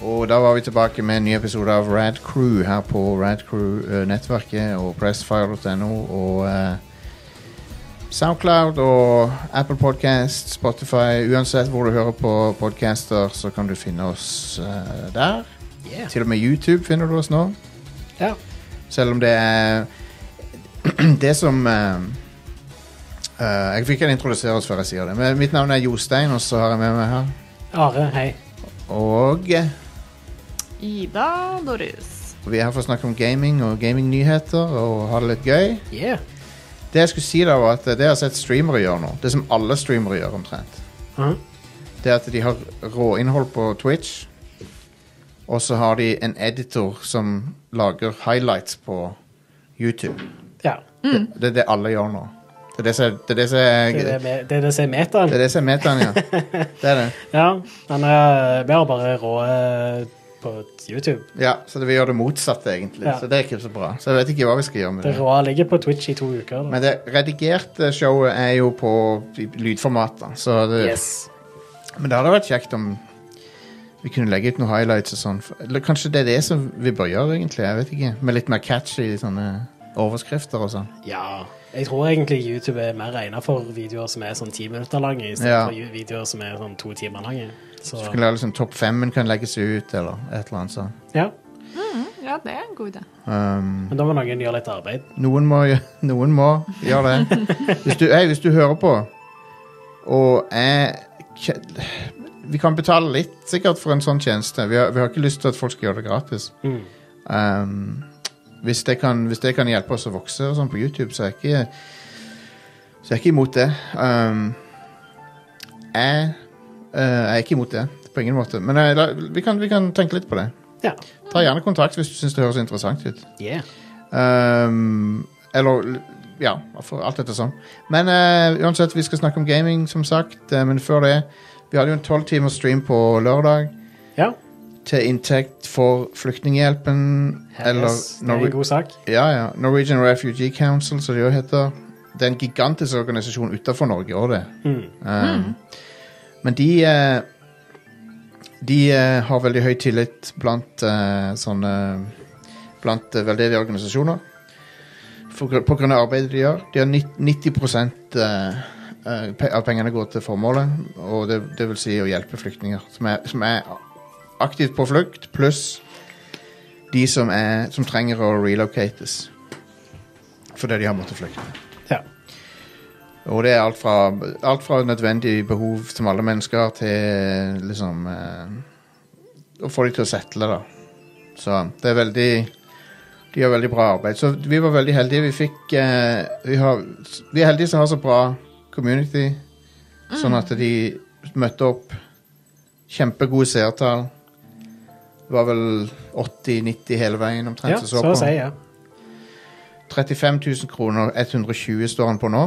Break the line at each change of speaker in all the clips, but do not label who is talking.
Og da var vi tilbake med en ny episode av Rad Crew her på Rad Crew-nettverket og pressfire.no og eh, Soundcloud og Apple Podcast, Spotify Uansett hvor du hører på podcaster, så kan du finne oss eh, der.
Yeah.
Til og med YouTube finner du oss nå.
Ja.
Selv om det er Det som eh, eh, Jeg fikk ikke introdusere oss før jeg sier det. Men mitt navn er Jostein, og så har jeg med meg her
Are, hei.
Og eh,
Ida Doris.
vi er her for å snakke om gaming og gamingnyheter og ha det litt gøy.
Yeah.
Det jeg skulle si da var at det jeg har sett streamere gjøre nå, det som alle streamere gjør omtrent,
Mhm.
det er at de har råinnhold på Twitch, og så har de en editor som lager highlights på YouTube.
Ja.
Det, det er det alle gjør nå. Det er det som er- det er det som er-
Det er det, med, det er det som er metaen.
det er det som er metaen, ja. Det er det.
Ja. Men eh, vi har bare rå eh, på YouTube.
Ja, så det, vi gjør det motsatte, egentlig.
Ja.
Så det er ikke så bra. Så jeg vet ikke hva vi skal gjøre med
Det
det.
råa ligger på Twitch i to uker. Da.
Men det redigerte showet er jo på lydformat, da. Så det,
Yes.
Men det hadde vært kjekt om vi kunne legge ut noen highlights og sånn. Eller kanskje det er det som vi bør gjøre, egentlig. jeg vet ikke. Med litt mer catchy sånne overskrifter og sånn.
Ja. Jeg tror egentlig YouTube er mer egnet for videoer som er sånn ti minutter lange, i stedet
Ja.
for ju- videoer som er sånn to timer lange. Så
Så skulle jeg liksom Topp femmen kan legges ut, eller et eller annet sånt.
ja.
Mm, Ja, det er en god idé.
Um,
Men da må noen gjøre litt arbeid.
noen, må, gjø- noen må gjøre det. Hvis du, hey, hvis du hører på, og jeg kje- Vi kan betale litt, sikkert, for en sånn tjeneste. Vi har, vi har ikke lyst til at folk skal gjøre det gratis.
Mm.
Um, hvis, det kan, hvis det kan hjelpe oss å vokse og sånn på YouTube, så er jeg ikke, så er jeg ikke imot det. Um, jeg eh, er ikke imot det, på ingen måte. Men eh, la- vi, kan, vi kan tenke litt på det.
Ja.
Ta gjerne kontakt hvis du syns det høres interessant ut.
Yeah.
Um, eller Ja, for alt dette sånn. Men eh, uansett, vi skal snakke om gaming, som sagt. Eh, men før det Vi hadde jo en tolv timers stream på lørdag
Ja.
til inntekt for Flyktninghjelpen.
yes. Det er en god sak.
Ja, ja. Norwegian Refugee Council, som det jo heter. Det er en gigantisk organisasjon utenfor Norge òg, det.
Mm.
Um, Men de eh, De eh, har veldig høy tillit blant eh, sånne Blant eh, veldedige organisasjoner. For, gru- på grunn av arbeidet de gjør. De har nitt- 90 eh, eh, pe- av pengene går til formålet, og det, det vil si å hjelpe flyktninger som er, som er aktivt på flukt, pluss de som, er, som trenger å relocates fordi de har måttet flykte.
Ja.
Og det er alt fra, alt fra nødvendige behov som alle mennesker har, til liksom eh, Å få de til å settle, da. Så det er veldig De gjør veldig bra arbeid. Så vi var veldig heldige. Vi fikk eh, vi, har, vi er heldige som har så bra community, sånn at de møtte opp. Kjempegode seertall. Det var vel 80-90 hele veien omtrent.
ja.
som
Så å
på.
si, ja.
35 000 kroner, 120 står han på nå.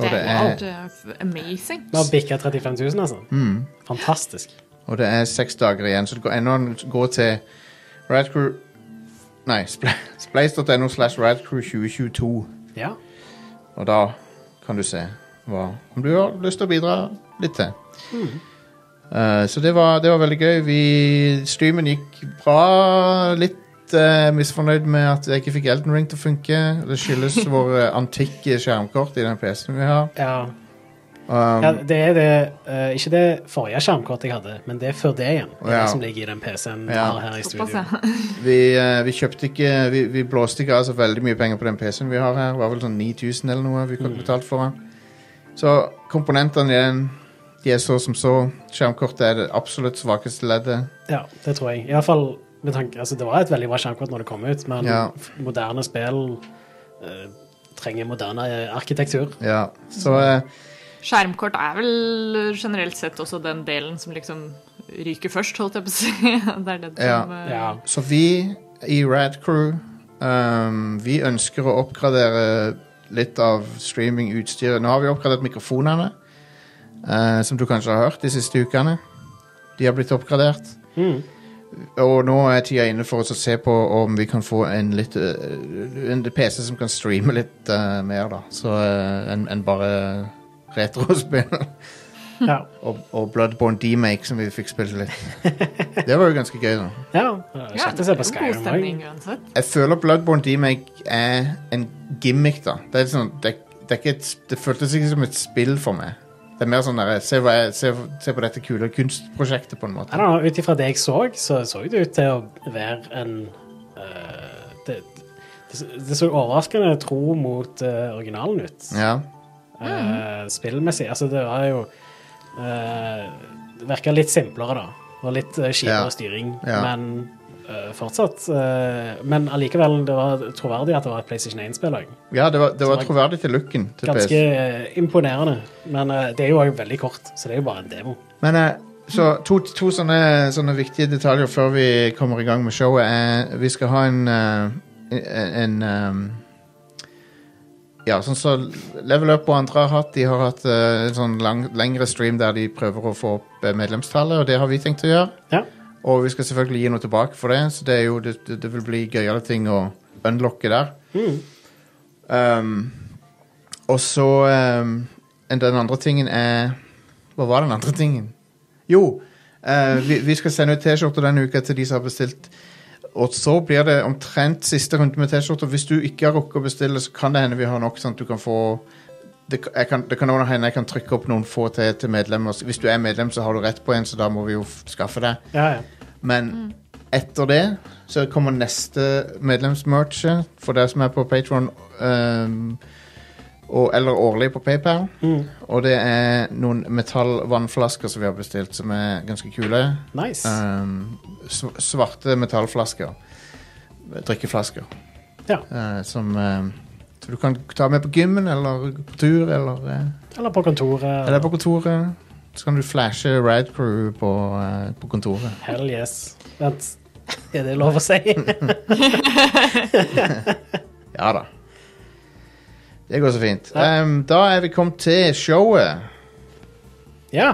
Og det er,
helt eh, f- amazing.
Vi har bikka 35 000, altså.
Mm.
Fantastisk.
og det er seks dager igjen, så det går ennå en gå til Radcrew Nei, spl- splice.no slash radcrew 2022.
Ja.
Og da kan du se hva, om du har lyst til å bidra litt til. Eh, så det var, det var veldig gøy. Vi, streamen gikk bra. Litt eh, misfornøyd med at jeg ikke fikk Elden Ring til å funke. Det skyldes våre antikke skjermkort i den PC-en vi har.
Ja.
Um,
ja, det er det eh, Ikke det forrige skjermkortet jeg hadde, men det er før det igjen. Det er
Ja.
det som ligger i den PC-en vi
Ja.
har her i
Såpass,
studio.
ja.
Vi, eh, vi kjøpte ikke vi, vi blåste ikke av så veldig mye penger på den PC-en vi har her. Det var vel sånn 9000 eller noe vi fikk betalt for den. Så komponentene igjen, de er så som så. Skjermkortet er det absolutt svakeste leddet.
Ja, det tror jeg. I hvert fall med tanke, altså Det var et veldig bra skjermkort når det kom ut, men
Ja.
f- moderne spill eh, trenger moderne eh, arkitektur.
Ja. Så eh,
Skjermkort er vel eh, generelt sett også den delen som liksom ryker først, holdt jeg på å si. Det er den
Ja.
som eh,
Ja.
Så vi i Rad Crew ehm, Vi ønsker å oppgradere litt av streamingutstyret. Nå har vi oppgradert mikrofonene, eh, som du kanskje har hørt de siste ukene. De har blitt oppgradert.
Mm.
Og nå er tida inne for oss å se på om vi kan få en, litt, eh, en PC som kan streame litt eh, mer, da. Så eh, enn enn bare retrospill.
Ja.
Og, og Bloodborne Demake, som vi fikk spille litt. Det var jo ganske gøy, da.
ja. ja Kjente seg på
god
Skyrim
stemning
òg.
uansett.
Jeg føler Bloodborne Demake er en gimmick, da. Det, er litt sånn, det, det, er ikke et, sp- det føltes ikke som et spill for meg. Det er mer sånn der, se, hva jeg, se, se på dette kule kunstprosjektet, på en måte.
Ut ifra det jeg så, så så det ut til å være en eh, det, det, det så overraskende tro mot eh, originalen ut.
Ja.
Eh, spillmessig. Altså, det var jo eh, Det virka litt simplere, da. Det var litt uh,
Ja.
kjipere styring,
Ja.
men eh, fortsatt eh, Men allikevel, det var troverdig at det var et PlayStation 1-spill òg.
ja, det var, det var troverdig til looken til
Ganske
PS.
eh, imponerende. Men eh, det er jo også veldig kort, så det er jo bare en demo.
Men eh, så to, to sånne, sånne viktige detaljer før vi kommer i gang med showet er Vi skal ha en eh, en, en ehm, ja, sånn så Level Up og andre har hatt De har hatt eh, en sånn lang, lengre stream der de prøver å få opp eh, medlemstallet, og det har vi tenkt å gjøre.
Ja.
Og vi skal selvfølgelig gi noe tilbake for det, så det, er jo, det, det, det vil bli gøyere ting å unlocke der. Um, og så um, en- Den andre tingen er Hva var den andre tingen? Jo, eh, vi, vi skal sende ut T-skjorter denne uka til de som har bestilt. Og så blir det omtrent siste runde med T-skjorter. Hvis du ikke har rukket å bestille, så kan det hende vi har nok. sånn at du kan få det, jeg kan, det kan også hende jeg kan trykke opp noen få til, til medlemmer. Hvis du er medlem, så har du rett på en, så da må vi jo f- skaffe deg.
Ja, ja.
Men etter det så kommer neste medlemsmerche for deg som er på Patron. og, eller årlig på PayPal. Og det er noen metallvannflasker som vi har bestilt, som er ganske kule.
Nice.
Um, sv- svarte metallflasker. Drikkeflasker.
Ja.
Eh, som eh, som du kan ta med på gymmen eller på tur eller eh,
Eller på kontoret.
Eller på kontoret. Så kan du flashe Rad Crew på, eh, på kontoret.
Hell yes. Vent, er det lov å si?
Ja da. Det går så fint. Ehm, da er vi kommet til showet.
ja.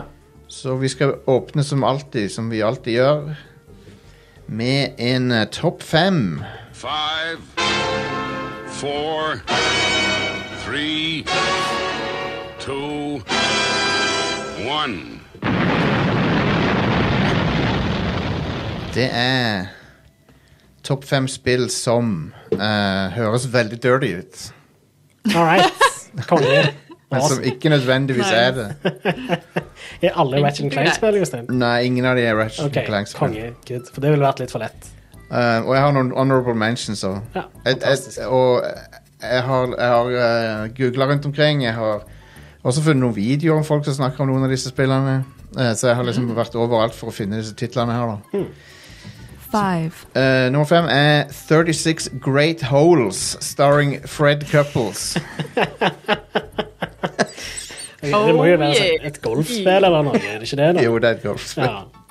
Så vi skal åpne som alltid, som vi alltid gjør, med en eh, topp fem.
Five, four, three, two, one.
Det er topp fem spill som eh, høres veldig dirty ut,
All right. Konge.
men som ikke nødvendigvis
Nei.
er det.
Er alle Ratchet and Clank-spill, Jostein?
Nei, ingen av de er Ratchet
OK,
Clank-spill.
konge. Good. For det ville vært litt for lett.
Eh, og jeg har noen honorable mentions òg.
Ja,
Jeg- jeg-
fantastisk.
Og jeg har, jeg har googla rundt omkring. Jeg har også funnet noen videoer om folk som snakker om noen av disse spillene. Eh, så jeg har liksom
Mm.
vært overalt for å finne disse titlene her, da.
Five.
Eh, nummer fem er 36 Great Holes starring Fred Couples.
Det det må jo
Oh,
være sånn
yeah.
et golfspill eller noe, er det ikke det? Da?
jo, det er et golfspill.
Ja.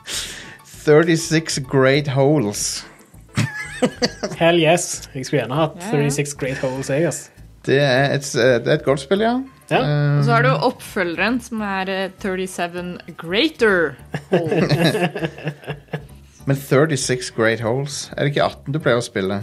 36 Great Holes.
Hell yes. Jeg skulle gjerne hatt
Ja, ja.
36 Great Holes, jeg, ass.
Det er et, eh, det er et golfspill, ja.
Ja.
Eh,
Og så har du oppfølgeren, som er eh, 37 Greater. Oh. Hole.
men 36 Great Holes Er det ikke 18 du pleier å spille?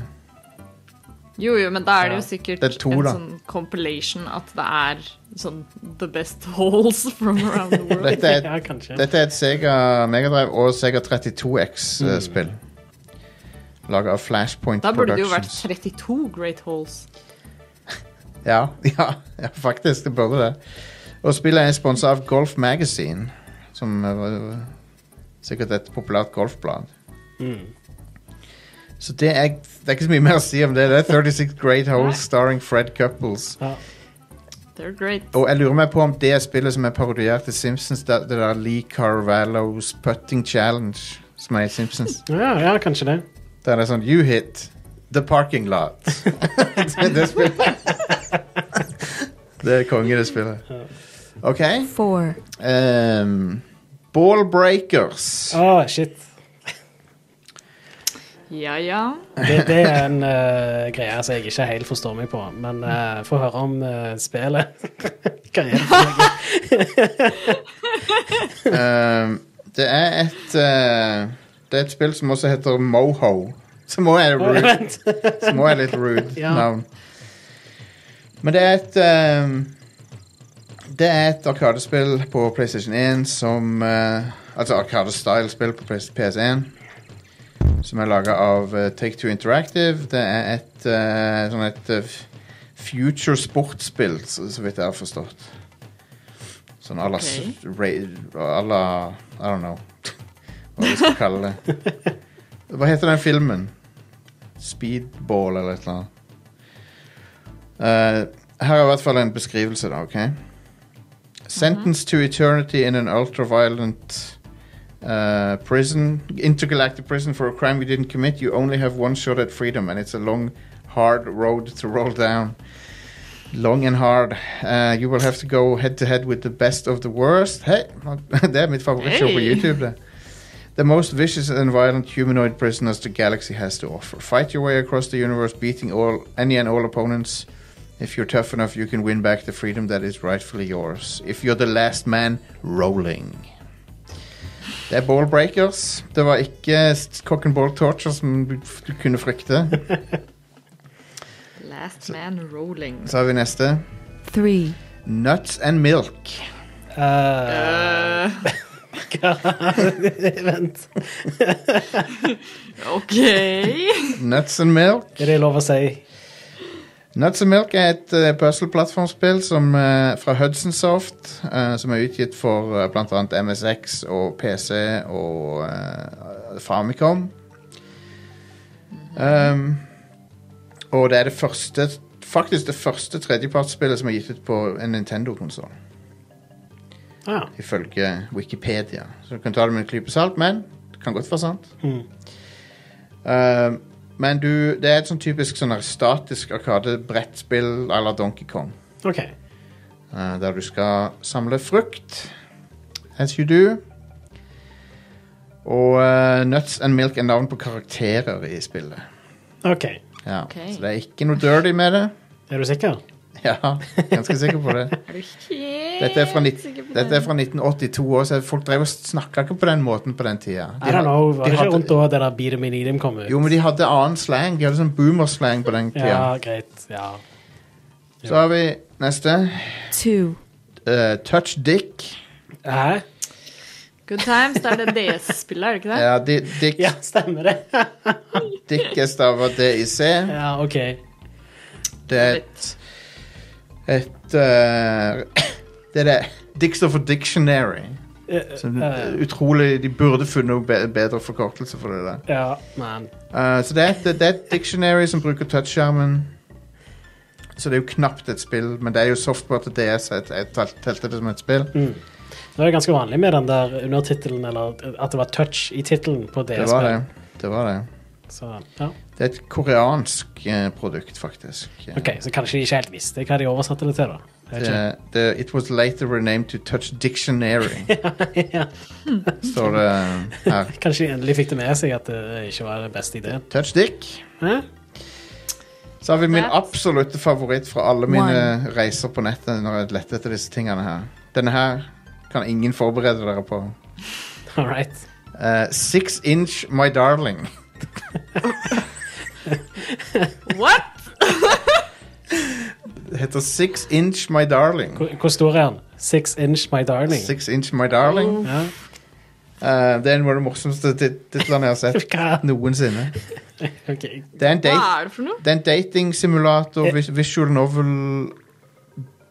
Jo, jo, men da er det jo
Ja.
sikkert
Det er to,
en
da.
sånn compilation at det er sånn The best holes from around the world.
Dette er et
ja, kanskje.
Dette er et Sega Megadrive og Sega 32X-spill. eh, Laget av Flashpoint
Mm. Da burde det jo vært
Productions.
32 Great Holes.
Ja, ja, ja, faktisk. Det burde det. Og spillet er sponsa av Golf Magazine, som er eh, sikkert et populært golfblad.
Mm.
Så det er, det er ikke så mye mer å si om det. Det er 36 Great Holes starring Fred Couples.
Ja.
They're great.
Og jeg lurer meg på om det er spillet som er parodiert i Simpsons, det, det der Lee Carvalho's Putting Challenge, som er i Simpsons.
Ja, ja, kanskje det.
Der det er sånn You hit the parking lot. det er det spillet. det er konge, det spillet. OK.
Four.
ehm, ball Breakers.
Å, shit.
Ja, ja.
Det, det er en eh, greie som jeg ikke helt forstår meg på, men eh, få høre om eh, spillet. Hva er det for noe?
Ehm, det er et eh, Det er et spill som også heter Moho. Som også er,
Å,
rude,
Vent.
som også er litt rude
Ja.
navn. Men det er et ehm, eh, Det er et Arkadespill på PlayStation 1 som eh, Altså Arkade-style-spill på PS- PS1. Som er laga av eh, Take Two Interactive. Det er et eh, sånn et eh, f- future sportsspill, så, så vidt jeg har forstått. Sånn à la s- ra- à la I don't know hva vi skal kalle det. Hva heter den filmen? Speedball eller et eller annet. Eh, her er i hvert fall en beskrivelse, da. ok? Sentence to eternity in an ultraviolent uh, prison, intergalactic prison for a crime you didn't commit. You only have one shot at freedom, and it's a long, hard road to roll down. Long and hard. Uh, you will have to go head to head with the best of the worst. Hei! Det er mitt favorittshow på
Hey.
YouTube. det. The most vicious and violent humanoid prisoners the galaxy has to offer. Fight your way across the universe, beating all any and all opponents. If you're tough enough, you can win back the freedom that is rightfully yours. If you're the last man rolling. Det er ball breakers. Det var ikke st- cock and ball torture som du f- du kunne frykte.
Last man rolling.
Så har vi neste.
three,
Nuts and milk.
Eh,
Eh,
vent.
OK
Nuts and milk.
Er det lov å si?
Nuts and Milk er et uh, puzzle-plattformspill som, eh, fra Hudson Soft, eh, som er utgitt for uh, bl.a. MSX og PC og eh, Famicom. Um, og det er det første faktisk det første tredjepartsspillet som er gitt ut på en Nintendo-konsoll,
Ah,
ifølge Wikipedia. Så du kan ta det med en klype salt, men det kan godt være sant.
Mhm.
Eh, men du, det er et sånn typisk sånn her statisk arkade-brettspill à la Donkey Kong.
OK.
Eh, der du skal samle frukt. As you do. Og eh, Nuts and Milk er navn på karakterer i spillet.
ok.
Ja.
Ok.
Så det er ikke noe dirty med det.
Er du sikker?
Ja, ganske sikker på det.
Er du helt
Dette er fra, nitt-
sikker på
dette er
det?
fra 1982 år, så folk drev og snakka ikke på den måten på den tida.
I don't know. Var det
de
ikke rundt
hadde,
da det der Beat 'em and Eat 'em kom ut?
jo, men de hadde annen slang. De hadde sånn boomer-slang på den tida.
Ja, greit. Ja.
Så har vi neste.
two,
eh, touch Dick.
Hæ?
Good times, da er det DS-spillet, er det ikke det?
Ja, di, dick,
Ja, stemmer det.
dick er stava DIC.
ja, OK.
Det er et, et eh, Det er det. Dick står for Dictionary.
Eh,
Så
eh,
utrolig, De burde funnet noe be- bedre forkortelse for det der.
ja, men
Eh, så det er, et, det er et dictionary som bruker touchskjermen. Så det er jo knapt et spill, men det er jo software til DS. Jeg, jeg tel- telte det som et spill.
Det var jo ganske vanlig med den der undertittelen, eller at det var touch i tittelen på
Det var
DS-spill.
det. Det var det.
Så, ja.
Det er et koreansk eh, produkt, faktisk. Eh,
Ok, så kanskje de ikke helt visste hva de oversatte det til, da. Jeg vet ikke.
det, det, it was later renamed to Touch Dictionary,
ja.
står det her.
Kanskje de endelig fikk det med seg at det ikke var den beste ideen.
Touch Dick.
Hæ?
Så har vi min
That's-
absolutte favoritt fra alle mine reiser på nettet når jeg lette etter disse tingene her. Denne her kan ingen forberede dere på.
All right.
Eh, six inch my darling.
What?
Det heter Six inch my darling.
Hvor, hvor stor er den? Six inch, my darling.
Six inch my darling.
Ja.
Eh, det er en av de morsomste tit- titlene jeg har sett
Hva?
noensinne.
Ok.
Det er en,
Hva
date,
er det for noe?
det er en datingsimulator,
Eh.
vis- visual novel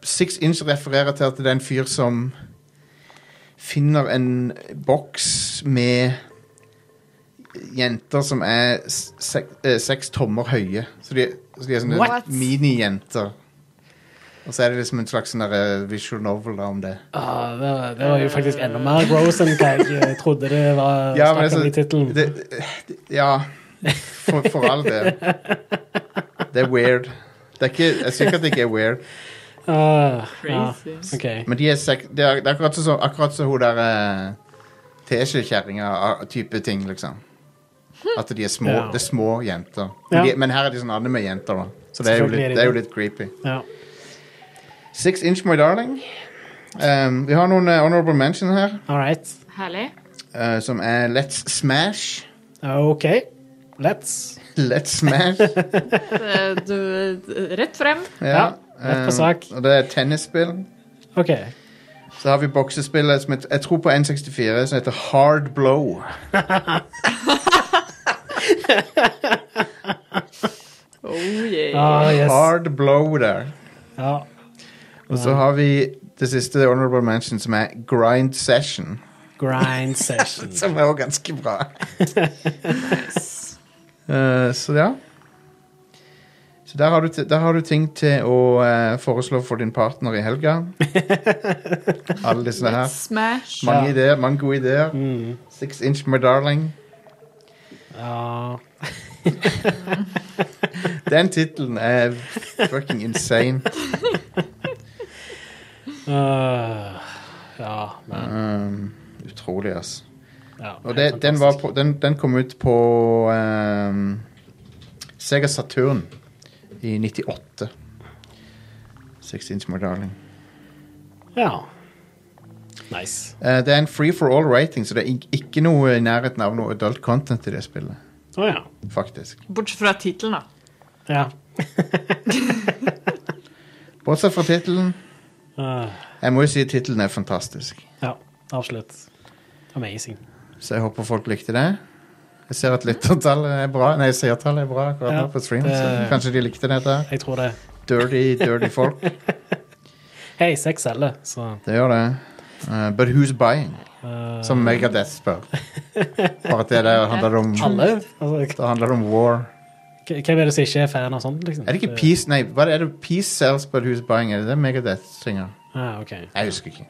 Six inch refererer til at det er en fyr som finner en boks med jenter som er s- sek, eh, seks tommer høye. Så de, så de er sånne
What?
minijenter. Og så er det liksom en slags sånn der, eh, visual novel da, om det.
Ah, det, var, det var jo faktisk enda mer gross enn hva jeg eh, trodde det var
Ja, men
snakk om i tittelen.
det, det, Ja, for, for all del. Det er weird. Det er ikke, jeg sier ikke at det ikke er weird.
Ah, ja.
Crazy.
Ok.
Men de er sek det er, det er akkurat sånn akkurat så hun der uh, teskjekjerringa ah, type ting, liksom. At de er små,
Ja.
det er små jenter.
Ja.
Men, de, men her er de sånn anime-jenter, da. Så det er, jo
Selvfølgelig er
litt,
de
det er jo
det.
litt creepy.
Ja.
Six Inch My Darling. Um, vi har noen eh, honorable mention her,
All right.
Herlig.
eh, som er Let's Smash.
Ok. Let's.
Let's Smash.
Eh, Du, rett frem.
Ja,
rett på
eh,
sak.
Og det er tennisspill.
Ok.
Så har vi boksespillet som heter, jeg tror på N64, som heter Hard Blow.
Oh, yeah.
Ah, yes.
Hard Blow der.
Ja.
Og så har vi det siste Honorable Mention, som er Grind Session.
Grind session.
Som er jo ganske bra. Eh, så ja. Så der har, du, ti- der har du ting til å eh, foreslå for din partner i helga. Alle disse her.
Smash.
Mange
Ja.
ideer, mange gode ideer. Six Inch My Darling.
Ja.
Den tittelen er fucking insane.
Øh, ja, men
Um, utrolig, altså.
ja,
Og
helt
det, den, var
fantastisk.
på, den, den kom ut på ehm, Sega Saturn i 98. Six Inch My Darling.
Ja. Nice.
Eh, det er en free for all rating, så det er ik- ikke noe i nærheten av noe adult content i det spillet.
Å ja.
Faktisk.
Bortsett fra tittelen, da.
Ja.
Bortsett fra tittelen.
Øh,
Jeg må jo si tittelen er fantastisk.
ja, absolutt. Amazing.
Så jeg håper folk likte det. Jeg ser at lyttertallet er bra. Nei, seertallet er bra akkurat
Ja,
nå på stream.
det-
Så kanskje de likte dette.
Jeg tror det.
Dirty, dirty folk.
Hei, seks selger, så
Det gjør det. Eh, but who's buying?
øh,
Eh,
Som Megadeth spør. Bare at det der handler om
Alle? Altså,
Det handler om war.
K- Hvem er det som ikke er fan av sånt? Liksom?
Er det
Eh.
ikke Peace Nei, hva er det Peace Sells But Who's Buying? Er det det Megadeth synger?
Ah, ok.
Jeg husker ikke.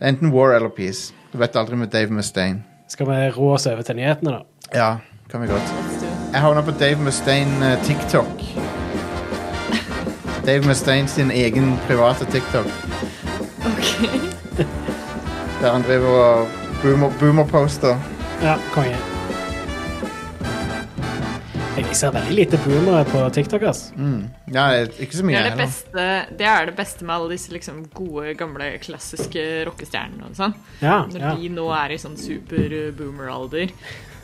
Enten War eller Peace. Du vet aldri med Dave Mustaine.
Skal vi ro oss over til nyhetene, da?
Ja, kan vi godt. Jeg havna på Dave Mustaine eh, TikTok. Dave Mustaine sin egen private TikTok.
Ok.
Der han driver og boomer, boomerposter.
Ja, konge. Jeg ser veldig lite boomere på TikTok, ass.
Mm. Ja, ikke så mye.
Det er det,
heller.
beste, det er det beste med alle disse liksom, gode, gamle, klassiske rockestjernene. og sånn.
Ja,
Når
ja.
de nå er i sånn super-boomer-alder.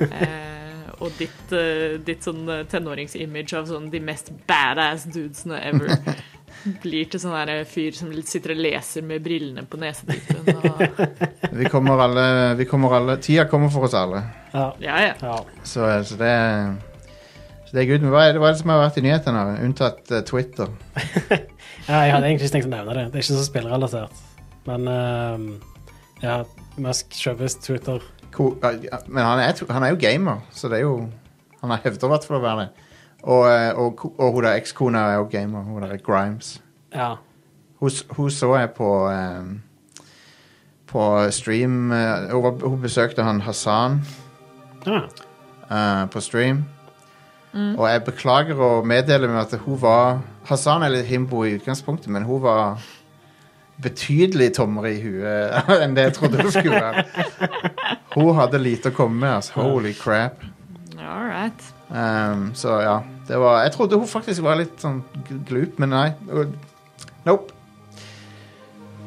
Eh, og ditt, eh, ditt sånn eh, tenåringsimage av sånn de mest badass dudesene ever blir til sånn der fyr som sitter og leser med brillene på nesetippen. Og,
Vi kommer alle, vi kommer alle Tida kommer for oss alle.
ja,
ja, ja.
ja.
Så, så det er så det er good. Men hva er det, hva er det som har vært i nyhetene? da? Unntatt eh, Twitter.
ja, jeg hadde egentlig ikke tenkt å nevne det. Det er ikke så spillrelatert. Men ehm, ja, Musk kjøper Twitter.
Ko- ja, Men han er, han er jo gamer, så det er jo Han har hevder i hvert fall å være det. Og, eh, og, ko- og hun der ekskona er jo gamer. Hun der Grimes.
Ja.
Hun, s- hun så jeg på eh, På stream eh, Hun, var- hun besøkte han Hassan
ja.
eh, på stream. Og jeg beklager å meddele med at hun var Hassan eller Himbo i utgangspunktet, men hun var betydelig tommere i huet enn det jeg trodde hun skulle være. Hun hadde lite å komme med, altså. Holy crap.
All right.
Um, så ja, det var Jeg trodde hun faktisk var litt sånn gl- glup, men nei. Hun- Nope.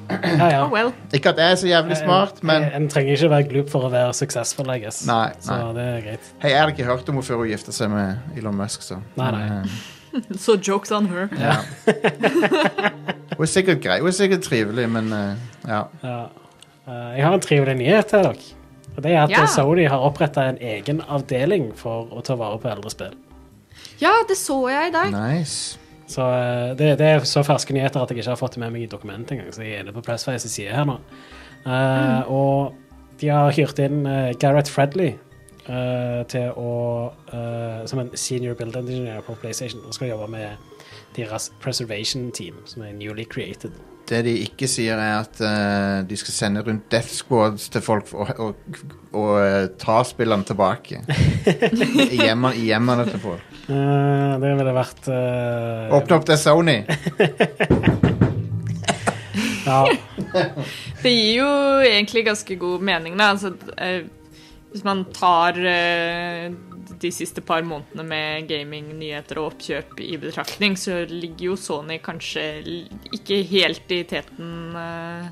ja, ja.
Oh well.
Ikke at jeg er så jævlig smart,
En,
men
en trenger ikke være glup for å være suksessfull, I guess.
Nei,
Så
nei.
det er greit.
Hei, jeg hadde ikke hørt om henne før hun gifta seg med Elon Musk, så.
Nei, nei.
Men, eh,
So jokes on her.
Ja. hun er sikkert grei. Hun er sikkert trivelig, men eh, ja.
Ja. Eh, Jeg har en trivelig nyhet til dere. Og det er at eh,
Ja.
Sony har oppretta en egen avdeling for å ta vare på eldre spill.
Ja, det så jeg i dag.
Nice.
Så eh, det, det er så ferske nyheter at jeg ikke har fått det med meg i dokumentet engang. Så jeg er inne på Pressface side her nå. Eh, Og de har hyrt inn eh, Gareth Fredley eh, til å eh, som en senior build engineer på PlayStation og skal jobbe med deres preservation team, som er newly created.
Det de ikke sier, er at eh, de skal sende rundt death squads til folk og, og, og eh, ta spillene tilbake. I hjemmene i hjemmene til folk.
Eh, det ville vært eh,
Åpne opp til Sony!
Ja.
Det gir jo egentlig ganske god mening, da. Altså, eh, hvis man tar eh, de siste par månedene med gaming, nyheter og oppkjøp i betraktning, så ligger jo Sony kanskje l- ikke helt i teten eh,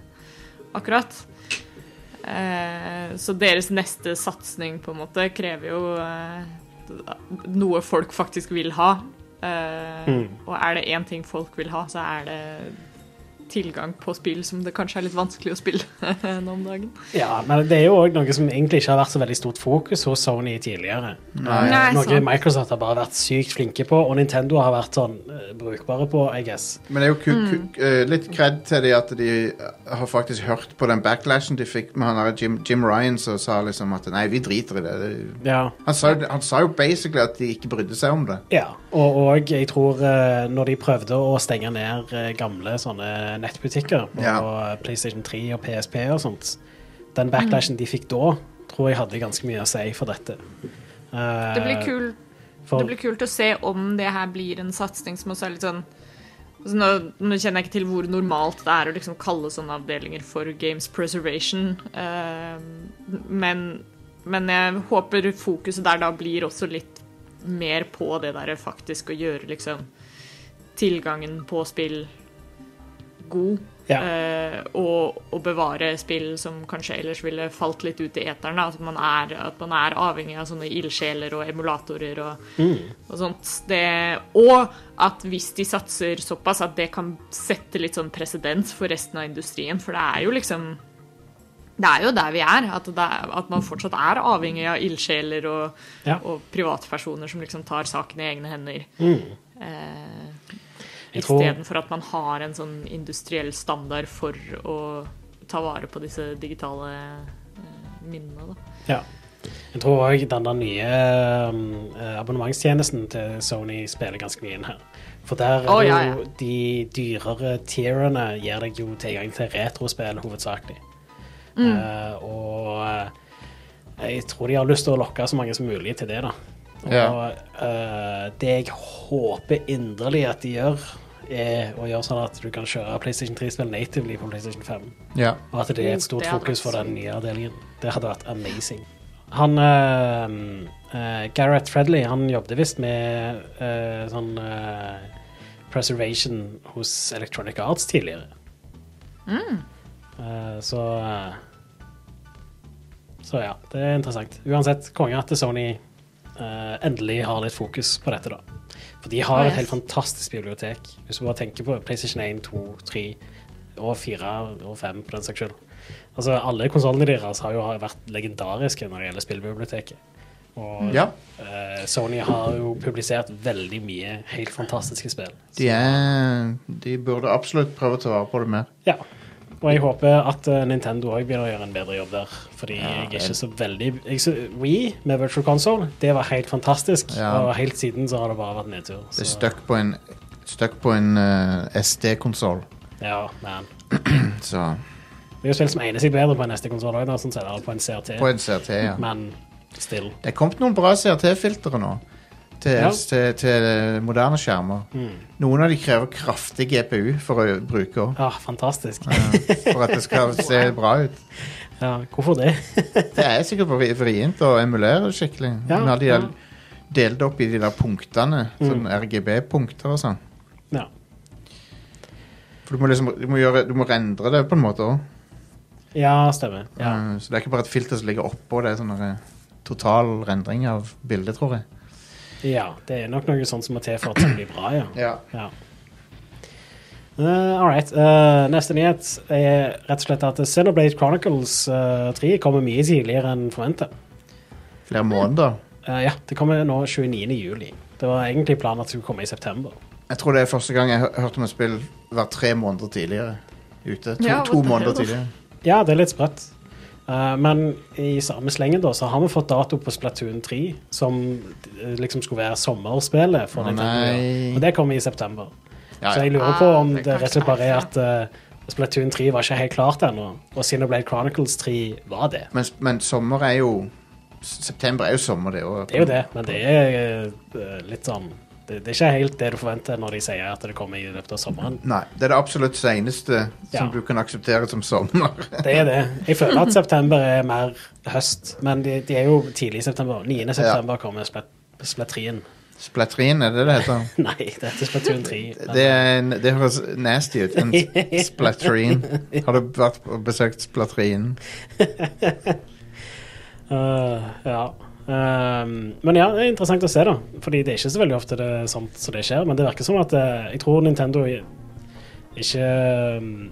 akkurat. Eh, så deres neste satsing på en måte krever jo eh, noe folk faktisk vil ha. Eh, Og er det én ting folk vil ha, så er det tilgang på spill som det kanskje er litt vanskelig å spille nå om dagen.
Ja, men det er jo òg noe som egentlig ikke har vært så veldig stort fokus hos Sony tidligere. Eh,
Nei.
Nei,
noe
sant.
Microsoft har bare vært sykt flinke på, og Nintendo har vært sånn eh, brukbare på, I guess.
Men det er jo ku, ku, eh, litt cred til de at de eh, har faktisk hørt på den backlashen de fikk med han der Jim, Jim Ryan som sa liksom at nei, vi driter i det. det
Ja.
han, sa, jo- han sa jo basically at de ikke brydde seg om det.
Ja, og, og jeg tror eh, når de prøvde å stenge ned eh, gamle sånne nettbutikker på
Ja.
PlayStation 3 og PSP og sånt, den backlashen de fikk da, tror jeg hadde ganske mye å si for dette. Eh,
Det blir kult
for-
Det blir kult å se om det her blir en satsing som også er litt sånn altså nå, nå kjenner jeg ikke til hvor normalt det er å liksom kalle sånne avdelinger for games preservation, eh, men, men jeg håper fokuset der da blir også litt mer på det der faktisk å gjøre liksom tilgangen på spill god.
Ja.
eh, og, og bevare spill som kanskje ellers ville falt litt ut i eteren. da. At man er, at man er avhengig av sånne ildsjeler og emulatorer og, og sånt. Det, og at hvis de satser såpass, at det kan sette litt sånn presedens for resten av industrien. For det er jo liksom Det er jo der vi er. At, det er, at man fortsatt er avhengig av ildsjeler og,
Ja.
og privatpersoner som liksom tar saken i egne hender. Eh,
Jeg tror-
Istedenfor at man har en sånn industriell standard for å ta vare på disse digitale eh, minnene. Da.
Ja. Jeg tror òg den der nye um, eh, abonnementstjenesten til Sony spiller ganske mye inn her. For der er
Å,
det
ja,
jo de dyrere tierene gir deg jo tilgang til retrospill hovedsakelig.
Mm.
Eh, og eh, jeg tror de har lyst til å lokke så mange som mulig til det, da. Og
Ja.
eh, det jeg håper inderlig at de gjør, er å gjøre sånn at du kan kjøre PlayStation 3-spill natively på PlayStation 5.
Ja.
Og at det er et stort
Det hadde
fokus for
vært
den nye avdelingen. Det hadde vært amazing. Han eh, eh, Gareth Fredley han jobbet visst med eh, sånn eh, preservation hos Electronic Arts tidligere.
Mm.
Eh, så eh, Så ja, det er interessant. Uansett, konge at Sony eh, endelig har litt fokus på dette, da. For de har
Ah,
et helt
yes.
fantastisk bibliotek. Hvis du bare tenker på PlayStation 1, 2, 3 og 4 og 5 på den saks skyld. Altså, alle konsollene deres har jo vært legendariske når det gjelder spillbiblioteket. Og
Ja.
eh, Sony har jo publisert veldig mye helt fantastiske spill.
De, er, de burde absolutt prøve å ta vare på det mer.
Ja. Og jeg håper at eh, Nintendo òg begynner å gjøre en bedre jobb der. Fordi jeg er
jeg-
ikke så veldig jeg, så, We med Virtual Console, det var helt fantastisk.
Ja.
Og helt siden så har det bare vært nedtur.
Det er
Så,
stuck på en, stuck på en eh, SD-konsoll,
ja, man.
så
Det er jo spill som egner seg bedre på en neste konsoll òg, sånn sett. Eller på en CRT.
På en CRT, ja.
Men still.
Det er kommet noen bra CRT-filtre nå. Til,
Ja.
til, til eh, moderne skjermer. Noen av de krever kraftig GPU for å bruke òg.
Ja, Ah, fantastisk.
For at det skal se bra ut.
Ja, hvorfor det?
Det er sikkert vri- vrient å emulere skikkelig.
Ja,
Når de
ja.
er delt opp i de der punktene, sånn RGB-punkter og sånn.
Ja.
For du må liksom du må gjøre, du må rendre det på en måte òg.
ja, stemmer. Ja.
Eh, Så det er ikke bare et filter som ligger oppå. Det er sånn der, eh, total rendring av bildet, tror jeg.
ja, det er nok noe sånt som må til for at det blir bra, ja.
Ja.
Ja. all right. Eh, neste nyhet er rett og slett at Xenoblade Chronicles eh, 3 kommer mye tidligere enn forventet.
Flere måneder.
Eh, ja, det kommer nå 29. juli. Det var egentlig planen at det skulle komme i september.
Jeg tror det er første gang jeg hø- hørte om et spill hver tre måneder tidligere. Ute. To,
Ja,
to
what the
måneder
hell?
tidligere.
Ja, det er litt sprøtt. Eh, men i samme slengen da, så har vi fått dato på Splatoon 3, som eh, liksom skulle være sommerspillet. for
Å,
Nintendo.
nei.
Og det kommer i september.
Ja,
Så jeg
ja.
lurer på om
Ah,
det,
det
rett og slett bare er
kan
at eh, Splatoon 3 var ikke helt klart ennå, og Xenoblade Chronicles 3 var det.
Men, men sommer er jo s- September er jo sommer, det òg.
Det er jo det, men det er eh, litt sånn det, det er ikke helt det du forventer når de sier at det kommer i løpet av sommeren.
Nei, det er det absolutt seneste som
Ja.
du kan akseptere som sommer.
Det er det. Jeg føler at september er mer høst, men de, de er jo tidlig i september. 9. september kommer Splat- Splatrien.
Splatrin, er det det heter?
Nei, dette er Splatoon 3. men-
Det, er en, det høres nasty ut. En s- splatrin. Har du vært og besøkt splatrin?
Øh, ja. Ehm, men ja, det er interessant å se, da. Fordi det er ikke så veldig ofte det er sånt som det skjer. Men det virker som at eh, jeg tror Nintendo i- ikke um,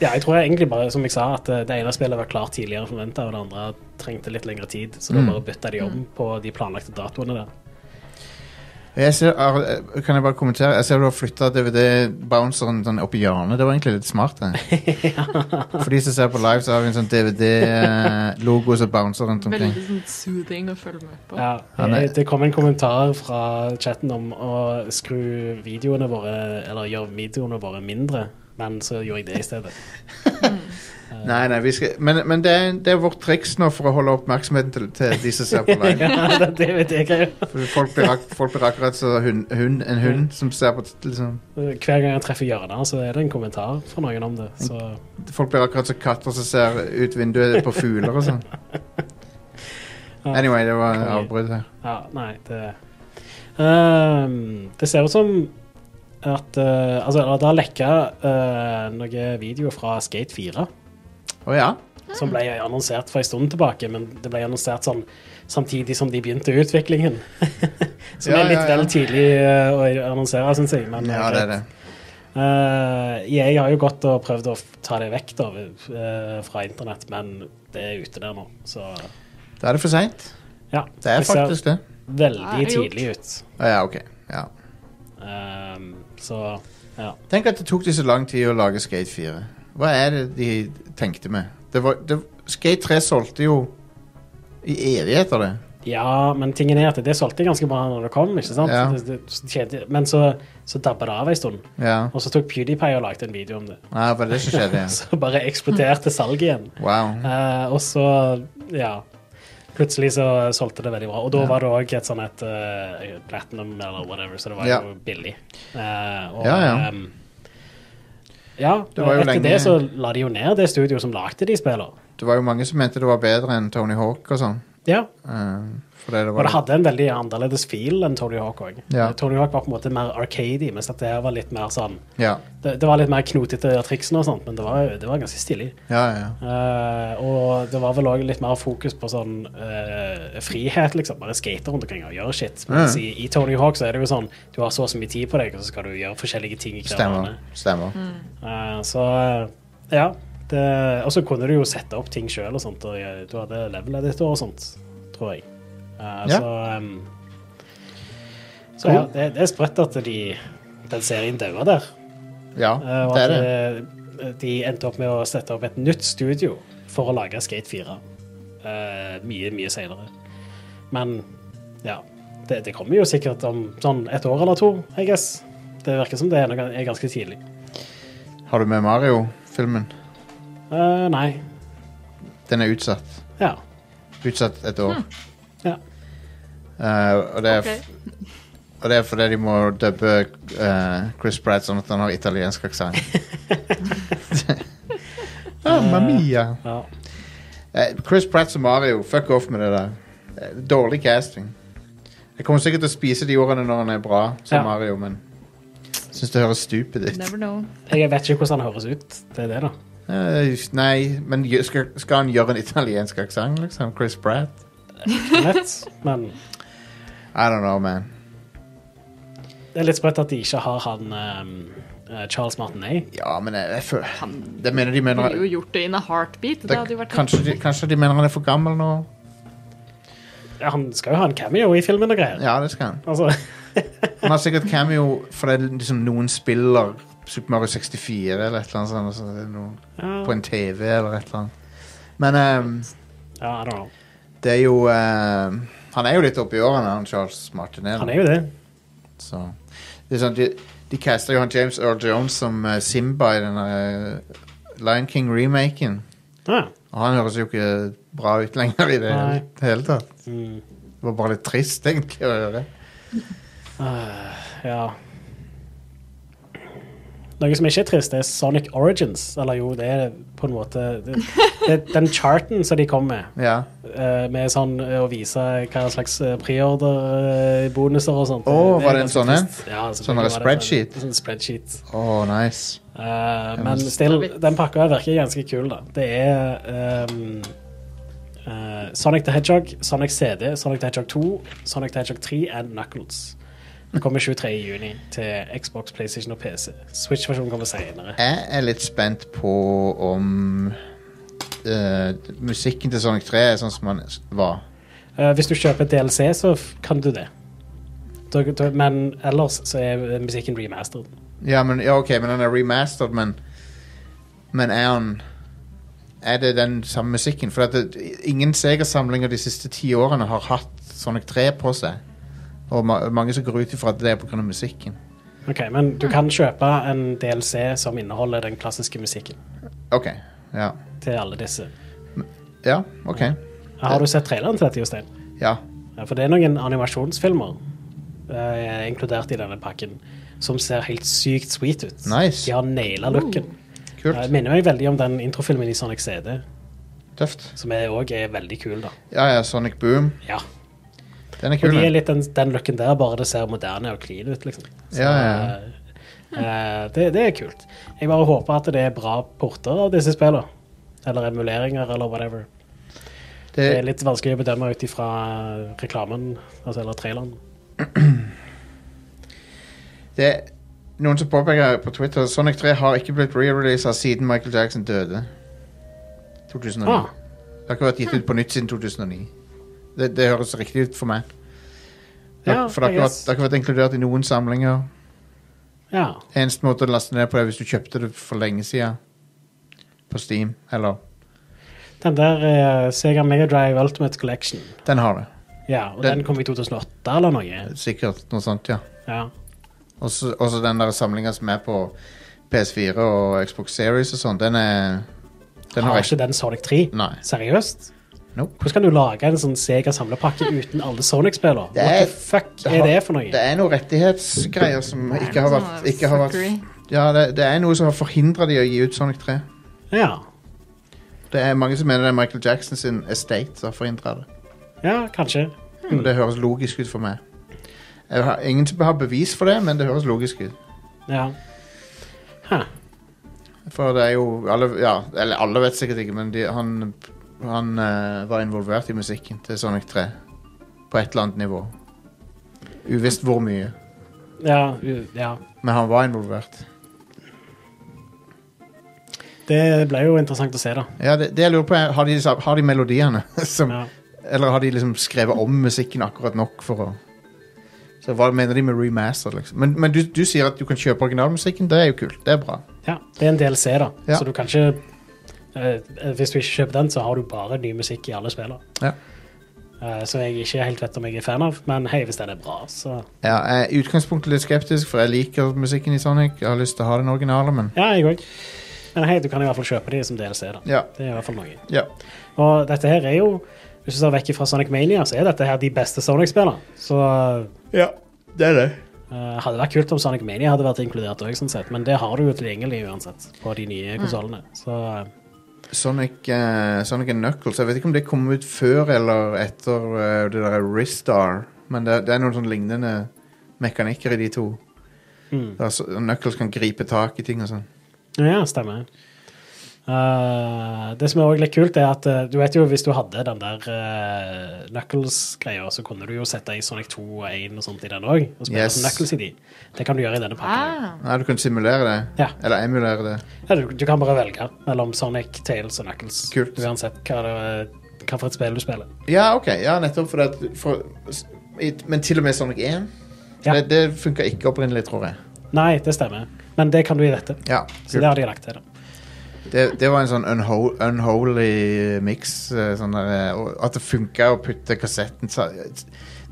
Ja, jeg tror egentlig bare, som jeg sa, at eh, det ene spillet var klart tidligere enn forventa, og det andre trengte litt lengre tid, så da
Mm.
bare bytta de om på de planlagte datoene der.
Jeg ser, Ar- kan jeg bare kommentere? Jeg ser du har flytta DVD-bounceren sånn opp i hjørnet. Det var egentlig litt smart. Det. For de som ser på live, så har vi en sånn DVD-logo eh, som bouncer rundt omkring.
Veldig sånn soothing å følge med på.
Ja,
Han er-
eh, det kom en kommentar fra chatten om å skru videoene våre, eller gjøre videoene våre mindre, men så gjorde jeg det i stedet.
Mm.
Nei, nei, vi skal, men men det, er, det er vårt triks nå for å holde oppmerksomheten til, til de som ser på live.
Ja, det- det vet jeg greia.
For folk blir, ak folk blir akkurat som hund, hund, en hund som ser på t- liksom,
Hver gang jeg treffer hjørner, så er det en kommentar fra noen om det. Så
Folk blir akkurat som katter som ser ut vinduet på fugler og sånn. Anyway, det var avbrudd her.
ja, nei, det Ehm, Det ser ut som at eh, Altså, eller det har lekka eh, noen videoer fra Skate 4.
Å ja?
Som ble annonsert for en stund tilbake, men det ble annonsert sånn samtidig som de begynte utviklingen. som
Ja,
er litt
ja, ja.
vel tidlig eh, å annonsere, syns jeg. Men eh,
Ja, det er det.
jeg har jo gått og prøvd å f- ta det vekk da, eh, fra internett, men det er ute der nå. Så
Da er det for seint.
ja.
Det er faktisk det.
ser veldig
Det er gjort.
tidlig ut.
Å ja, ok. Ja.
Ehm, så ja.
Tenk at det tok de så lang tid å lage Skate 4. Hva er det de tenkte med? Det var, det, Skate 3 solgte jo i evigheter, det.
Ja, men tingen er at det solgte ganske bra når det kom, ikke sant?
Ja.
Det, det, tjente- men så, så dabba det av en stund.
Ja.
Og så tok PewDiePie og lagde en video om det.
Nei, det var det som skjedde. Ja.
Så bare eksploderte salget igjen.
Wow.
Eh, og så, ja Plutselig så solgte det veldig bra. Og da var det òg et sånn et eh, platinum eller whatever, så det var
Ja.
jo billig. Eh, og,
Ja, ja.
ehm, ja,
Det var jo
etter
lenge-
det så la de jo ned det studioet som lagde de spillene.
Det var jo mange som mente det var bedre enn Tony Hawk og sånn.
Ja.
Eh, fordi det
Og
var
det hadde en veldig annerledes feel enn Tony Hawk òg.
Ja.
Tony Hawk var på en måte mer arcady, mens dette her var litt mer sånn
Ja,
Det, det var litt mer knotete triksene og sånt, men det var, det var ganske stilig.
ja, ja.
Eh, og det var vel òg litt mer fokus på sånn eh, frihet, liksom. Bare skate rundt omkring og gjøre shit. Mens
Mm.
i, i Tony Hawk så er det jo sånn du har så og så mye tid på deg, og så skal du gjøre forskjellige ting. i hver
Stemmer.
bane.
Stemmer.
Eh, så eh, ja. Det, og så kunne du jo sette opp ting sjøl og sånt, og eh, du hadde level editor og sånt, tror jeg. Eh,
Ja.
Så, ehm, så ja, det, det er sprøtt at de, den serien dauer der.
Ja,
Eh, Og
det
at
er det.
eh, de endte opp med å sette opp et nytt studio for å lage Skate 4. eh, mye, mye senere. Men ja. Det, det kommer jo sikkert om sånn et år eller to, I guess. Det virker som det er, noe, er ganske tidlig.
Har du med Mario-filmen?
Eh, nei.
Den er utsatt.
Ja.
Utsatt et år.
Ja.
Eh, og, det er,
Ok.
og det er fordi de må dubbe eh, Chris Pratt sånn at han har italiensk aksent. ah, mamma mia.
ja.
Eh, Chris Pratt som Mario, fuck off med det der. Eh, Dårlig casting. Jeg kommer sikkert til å spise de ordene når han er bra som
Ja.
Mario, men syns det høres stupid ut.
Never know.
Jeg vet ikke hvordan han høres ut. Det er det, da.
Eh, nei, men gjø- skal, skal han gjøre en italiensk aksent, liksom? Chris Pratt?
Hvem vet? Men
I don't know, man.
det er litt sprøtt at de ikke har han eh, eh, Charles Martinet.
Ja, men jeg, jeg føler Det mener de mener
Ville jo gjort det in a heartbeat. Det, hadde jo
det,
vært
kanskje, de, kanskje de mener han er for gammel nå?
Ja, han skal jo ha en cameo i filmen og greier.
Ja, det skal han.
Altså,
Han har sikkert cameo fordi liksom noen spiller Super Mario 64 eller et eller annet sånt. og så er det noen-
ja,
på en TV eller et eller annet. Men ehm,
ja, I don't know.
det er jo ehm, Han er jo litt oppi årene, han Charles Martinell.
Han er jo det.
Så. Det er sånn, de, de caster jo han James Earl Jones som eh, Simba i den eh, Lion King-remaken.
Ja.
Og han høres jo ikke bra ut lenger i det
Nei.
hele- hele tatt.
Mm.
Det var bare litt trist, egentlig, å høre.
ja. Noe som ikke er trist, det er Sonic Origins. Eller jo, det er på en måte det, det, Den charten som de kom med,
Ja.
eh, med sånn eh, å vise hva slags eh, preorder-bonuser og sånt
Å, var det en
ganske
sånn en?
trist. Ja, selvfølgelig
Sånn
var
en
det
spreadsheet?
Sånn, sånn spreadsheet.
Åh, nice.
Eh, men
men-
still, den pakka virker ganske kul, da. Det er ehm, eh, Sonic the Hedgehog, Sonic CD, Sonic the Hedgehog 2, Sonic the Hedgehog 3 and Knuckles. Kommer 23. juni til Xbox, PlayStation og PC. Switch-versjonen kommer senere.
Jeg er litt spent på om eh, musikken til Sonic 3 er sånn som den var.
Eh, hvis du kjøper DLC, så f- kan du det. Da, da, men ellers så er musikken remastered.
Ja, men, ja, ok, men den er remastered, men Men er han Er det den samme musikken? For at det, ingen Sega-samlinger de siste ti årene har hatt Sonic 3 på seg. Og ma mange som går ut ifra at det er pga. musikken.
Ok, Men du kan kjøpe en DLC som inneholder den klassiske musikken
OK. Ja.
til alle disse.
Ja, OK.
Har du sett traileren til dette, Jostein?
Ja.
Ja, for det er noen animasjonsfilmer eh, inkludert i denne pakken som ser helt sykt sweet ut.
Nice.
De har naila looken. Eh,
Kult.
minner meg veldig om den introfilmen i Sonic CD,
Tøft.
som òg er veldig kul, da.
Ja, ja, Sonic Boom.
Ja.
Den er
Og
kul.
de er
den.
litt den, den looken der, bare det ser moderne og clean ut, liksom. Så,
Ja, ja.
eh, eh, det, det er kult. Jeg bare håper at det er bra porter av disse spillene. Eller emuleringer, eller whatever. Det er
Det,
litt vanskelig å bedømme ut ifra reklamen, altså, eller traileren.
det er noen som påpeker på Twitter Sonic 3 har ikke blitt re-releasa siden Michael Jackson døde. 2009.
Ah,
Det har ikke vært gitt ut på nytt siden 2009. Det, det høres riktig ut for meg. Det, har-
Ja,
for det har,
I
ikke vært,
guess.
det har ikke vært inkludert i noen samlinger.
ja.
Eneste måte å laste ned på er hvis du kjøpte det for lenge siden. På Steam. Eller
Den der eh, Sega Mega Drive Ultimate Collection.
Den har det.
Ja, og
Den-
den, kom i 2008 eller noe.
Sikkert noe sånt, ja.
Ja.
Og så og så den der samlinga som er på PS4 og Xbox Series og sånn, den er Den har
Har
jeg ikke.
ikke den Sonic 3?
Nei.
Seriøst?
Nope.
Hvordan kan du lage en sånn Sega samlepakke uten alle Sonic-spillere?
Det
What
er-
the fuck
det
er
har-
det for
Det
noe?
er noen rettighetsgreier som ikke har vært, ikke har vært
Fuckery.
Ja, det, det er noe som har forhindra de å gi ut Sonic 3.
Ja.
Det er mange som mener det er Michael Jackson sin estate som har forhindra det.
ja, kanskje.
Og det høres logisk ut for meg. Jeg har ingen som har bevis for det, men det høres logisk ut.
Ja. Huh.
For det er jo alle, ja, Eller alle vet sikkert ikke, men de, han, han eh, var involvert i musikken til Sonic 3. På et eller annet nivå. Uvisst hvor mye,
Ja, u- ja.
men han var involvert.
Det ble jo interessant å se, da.
Ja, det, det jeg lurer på er, Har de, sa- har de melodiene? Som,
Ja.
Eller har de liksom skrevet om musikken akkurat nok for å Så Hva mener de med remaster? liksom? Men, men du, du sier at du kan kjøpe originalmusikken. Det er jo kult. Det er bra.
Ja, det er en DLC, da,
Ja.
så du kan ikke eh, Hvis du ikke kjøper den, så har du bare ny musikk i alle spillene.
Ja.
Eh, som jeg ikke helt vet om jeg er fan av, men hei, hvis den er bra, så
Ja, jeg er i utgangspunktet litt skeptisk, for jeg liker musikken i Sonic. Jeg har lyst til å ha den originale, men
Ja, jeg òg. Men hei, du kan i hvert fall kjøpe de som DLC, da.
Ja.
Det er i hvert fall noe.
ja.
Og dette her er jo Hvis du ser vekk fra Sonic Mania, så er dette her de beste Sonic-spillene. Så
det er det.
eh, hadde vært kult om Sonic Mania hadde vært inkludert òg, sånn sett. Men det har du jo tilgjengelig uansett på de nye konsollene. Så eh,
Sonic, eh, Sonic and Knuckles. Jeg vet ikke om det kom ut før eller etter eh, det derre Ristar, men det, det er noen sånn lignende mekanikker i de to.
Mm.
Der så- Knuckles kan gripe tak i ting og sånn.
ja, stemmer. Eh, det som er også litt kult, er at eh, du vet jo hvis du hadde den der eh, Knuckles-greia, så kunne du jo sette i Sonic 2 og 1 og sånt i den òg, og spille
Yes.
som Knuckles i de. Det kan du gjøre i denne pakken. også.
Ah,
Nei, du kan simulere det.
Ja.
Eller emulere det.
Ja, du, du kan bare velge mellom Sonic, Tails og Knuckles.
Kult.
Uansett hva, det, hva for et spill du spiller.
Ja, ok. Ja, nettopp. For det, at- for, s- i- men til og med Sonic 1
Ja.
Det, det funka ikke opprinnelig, tror jeg.
Nei, det stemmer. Men det kan du i dette.
Ja,
Så det har de lagt til. da.
Det, det var en sånn unho unholy mix. eh, Sånn der, eh, og at det funka å putte kassetten sa-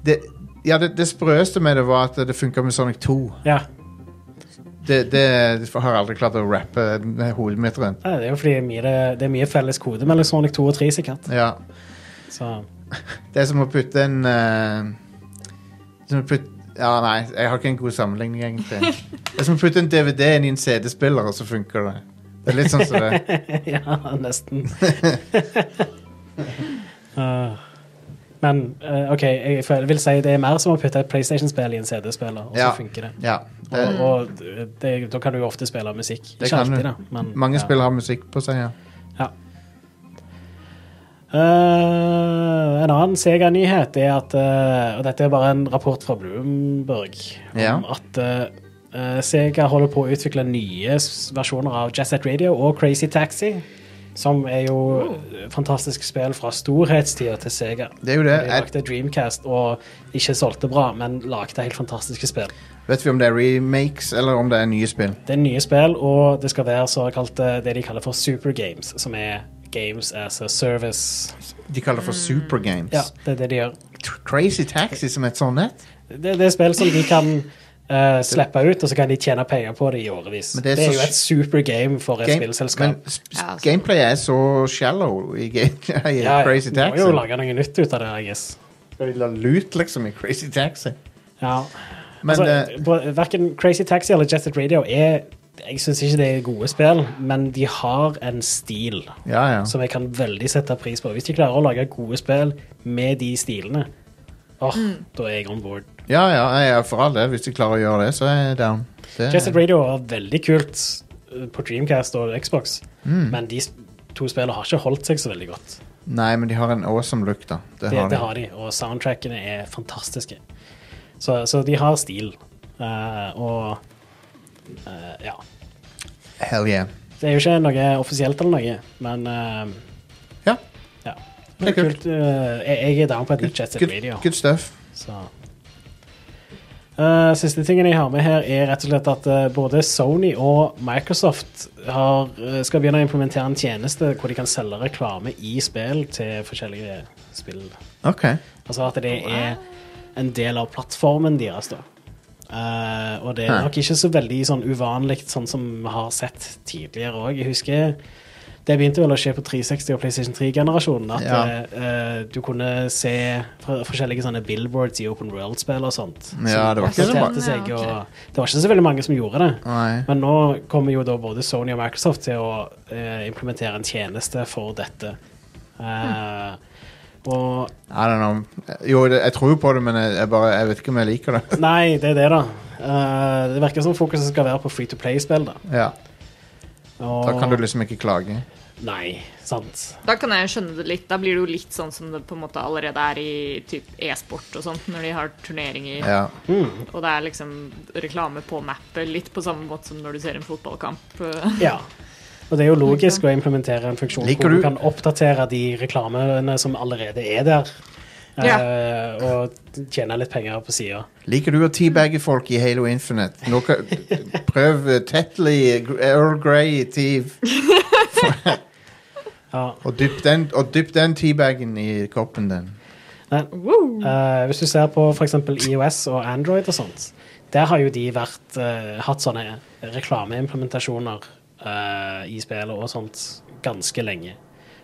det, Ja, det, det sprøeste med det var at det funka med Sonic 2.
Ja,
Det, det har jeg aldri klart å rappe med hodet mitt rundt.
Nei, eh, Det er jo fordi mye, det er mye felles kode mellom Sonic 2 og 3, sikkert.
Ja.
Så
Det er som å putte en eh, som å putte, Ja, nei, jeg har ikke en god sammenligning, egentlig. Det er som å putte en DVD inn i en CD-spiller, og så funker det. Det er litt sånn som det.
ja, nesten. Ah. men eh, OK, jeg føler, vil si det er mer som å putte et PlayStation-spill i en CD-spiller, og så
Ja.
funker det.
Ja, det
Og, og eh, det, da kan du jo ofte spille musikk.
Det
Ikke
kan du.
alltid, da. Men,
mange
ja.
spill har musikk på seg, ja.
Ja. Eh, en annen Sega-nyhet er at eh, Og dette er bare en rapport fra Bloomberg. Om
Ja.
At eh, eh, Sega holder på å utvikle nye s- versjoner av Jazz Set Radio og Crazy Taxi. Som er jo fantastiske spill fra storhetstida til Sega.
Det er jo det.
De
Jeg,
lagde Dreamcast og ikke solgte bra, men lagde helt fantastiske spill.
vet vi om det er remakes, eller om det er nye spill?
Det er nye spill, og det skal være såkalte det de kaller for supergames, som er games as a service.
De kaller det for
Mm.
supergames.
Ja, det er det de gjør.
Tr- Crazy Taxi som et sånt et.
Det, det er spill som de kan eh, slippe ut, og så kan de tjene penger på det i årevis.
Men
Det
det er så
er, jo
sj-
et supergame for et
Game-
spillselskap.
Men sp-
Ja, altså.
gameplayet er så shallow i, ga- i Crazy Taxi.
Må jo lage noe nytt ut av det, I guess.
Skal de la lut, liksom, i Crazy Taxi?
Ja.
Men
altså,
eh,
på- Verken Crazy Taxi eller Jetted Radio er Jeg syns ikke det er gode spill, men de har en stil
Ja, ja.
som jeg kan veldig sette pris på. Hvis de klarer å lage gode spill med de stilene, åh, da er jeg on board.
ja, ja, ja for all det. Hvis de klarer å gjøre det, så er jeg down. Det,
Jetted Radio var veldig kult eh, på Dreamcast og Xbox,
Mm.
men de s- to spillene har ikke holdt seg så veldig godt.
nei, men de har en awesome look, da. Det,
Det,
har de.
det har de, og soundtrackene er fantastiske. Så, så de har stil. eh, og eh, ja.
Hell yeah.
Det er jo ikke noe offisielt eller noe, men eh,
Ja,
ja.
Det er
Men kult. eh, jeg, jeg er down på et nytt Jet Set
good,
Radio.
good stuff.
Så. Eh, siste tingen jeg har med her, er rett og slett at eh, både Sony og Microsoft har, eh, skal begynne å implementere en tjeneste hvor de kan selge reklame i spill til forskjellige spill.
OK.
Altså at det er en del av plattformen deres, da. Eh, og det er nok ikke så veldig sånn uvanlig, sånn som vi har sett tidligere òg. Jeg husker det begynte vel å skje på 360 og PlayStation 3-generasjonen. At
Ja.
eh, eh, du kunne se fra- forskjellige sånne billboards i Open World-spill og sånt. som
Ja, det var ikke så
presenterte
mange.
Seg,
Ja, ok.
og det var ikke så veldig mange som gjorde det.
Nei.
Men nå kommer jo da både Sony og Microsoft til å eh, implementere en tjeneste for dette. Eh,
Hm.
Og
I don't know. Jo, det, jeg tror jo på det, men jeg, jeg, bare, jeg vet ikke om jeg liker det.
Nei, det er det, da. Eh, det virker som fokuset skal være på free to play-spill, da.
ja,
Og,
Da kan du liksom ikke klage.
Nei, sant.
Da kan jeg skjønne det litt. Da blir det jo litt sånn som det på en måte allerede er i typ e-sport og sånt, når de har turneringer
Ja.
og det er liksom reklame på mappet. Litt på samme måte som når du ser en fotballkamp.
Ja. Og det er jo logisk å implementere en funksjon
Liker
hvor du
du-
kan oppdatere de reklamene som allerede er der, eh, og tjene litt penger på sida.
Liker du å teabagge folk i Halo Infinite? Nå kan, prøv eh, Tetley, Gr- Earl Grey, Teave.
Ja.
Og dypp den, og dypp den teabaggen i koppen din.
Men, eh, hvis du ser på f.eks. IOS og Android og sånt, der har jo de vært, eh, hatt sånne reklameimplementasjoner eh, i spillet og sånt ganske lenge.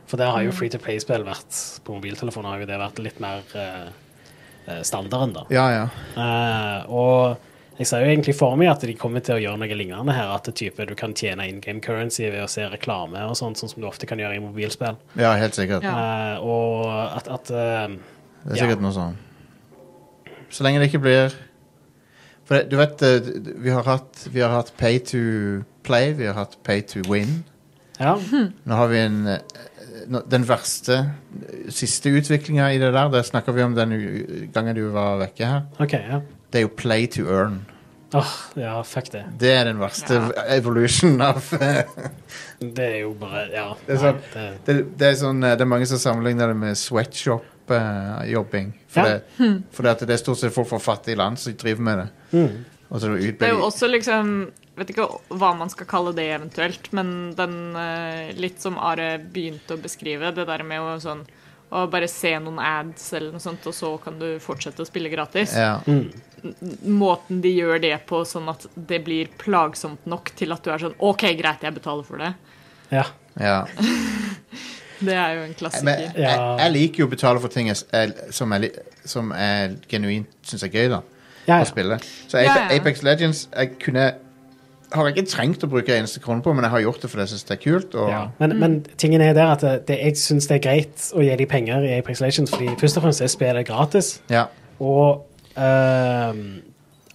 For der har jo Free to Play-spill vært på mobiltelefoner har jo det vært litt mer eh, eh, standarden, da.
Ja, ja.
Eh, og jeg ser jo egentlig for meg at de kommer til å gjøre noe lignende her. At det type du kan tjene in game currency ved å se reklame og sånt, sånn som du ofte kan gjøre i mobilspill.
Ja, helt sikkert.
Ja.
Eh, og at, at eh,
Det er
Ja.
sikkert noe sånn. Så lenge det ikke blir For det, du vet, eh, d- d- vi har, hatt, vi har hatt pay to play, vi har hatt pay to win.
Ja.
Nå har vi en, eh, nå- den verste, eh, siste utviklinga i det der. Det snakker vi om den u- gangen du var vekke her.
OK. ja.
Det er jo play to earn.
Åh, ja, fuck det.
Det er den verste
Ja.
evolution av eh,
Det er jo bare Ja.
Det er sånn-
nei, det,
det, det, er sånn, eh, det er mange som sammenligner det med sweatshop-jobbing. eh, for
Ja.
det,
Hmm.
fordi at det er stort sett folk fra fattige land som driver med det.
Mm.
Og så
Det er jo
utbygger
også liksom Vet ikke hva man skal kalle det eventuelt, men den eh, litt som Are begynte å beskrive, det der med å sånn å bare se noen ads eller noe sånt, og så kan du fortsette å spille gratis.
ja.
Hmm.
Måten de gjør det på, sånn at det blir plagsomt nok til at du er sånn OK, greit, jeg betaler for det.
ja.
ja.
Det er jo en
Men jeg,
klassiker.
jeg liker jo å betale for ting jeg, jeg- som, jeg, li- som jeg genuint syns er gøy, da.
Ja,
Å
ja.
spille. Så
Ja, ja.
Ape- Apex Legends jeg kunne har jeg ikke trengt å bruke eneste krone på, men jeg har gjort det fordi jeg syns det er kult. Og,
Ja. Men, men tingen er der at eh, det, det, jeg syns det er greit å gi de penger i Apex Legends, fordi først og fremst er spillet gratis,
ja.
og ehm,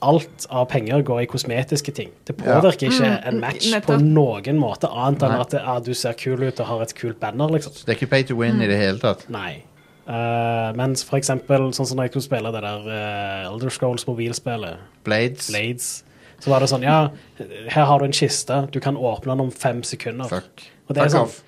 alt av penger går i kosmetiske ting. Det
Ja.
påvirker ikke en match på
nettopp.
noen måte, annet enn
Nei.
at ah, du ser kul ut og har et kult banner, liksom.
Det er ikke pay to win i det hele tatt.
Nei. Eh, mens for eksempel, sånn som når jeg skulle spille det der eh, Elder Scrolls mobilspillet,
Blades.
Blades, så var det sånn, ja, her har du en kiste, du kan åpne den om fem sekunder.
Fuck.
Og det er
Fuck
sånn,
off.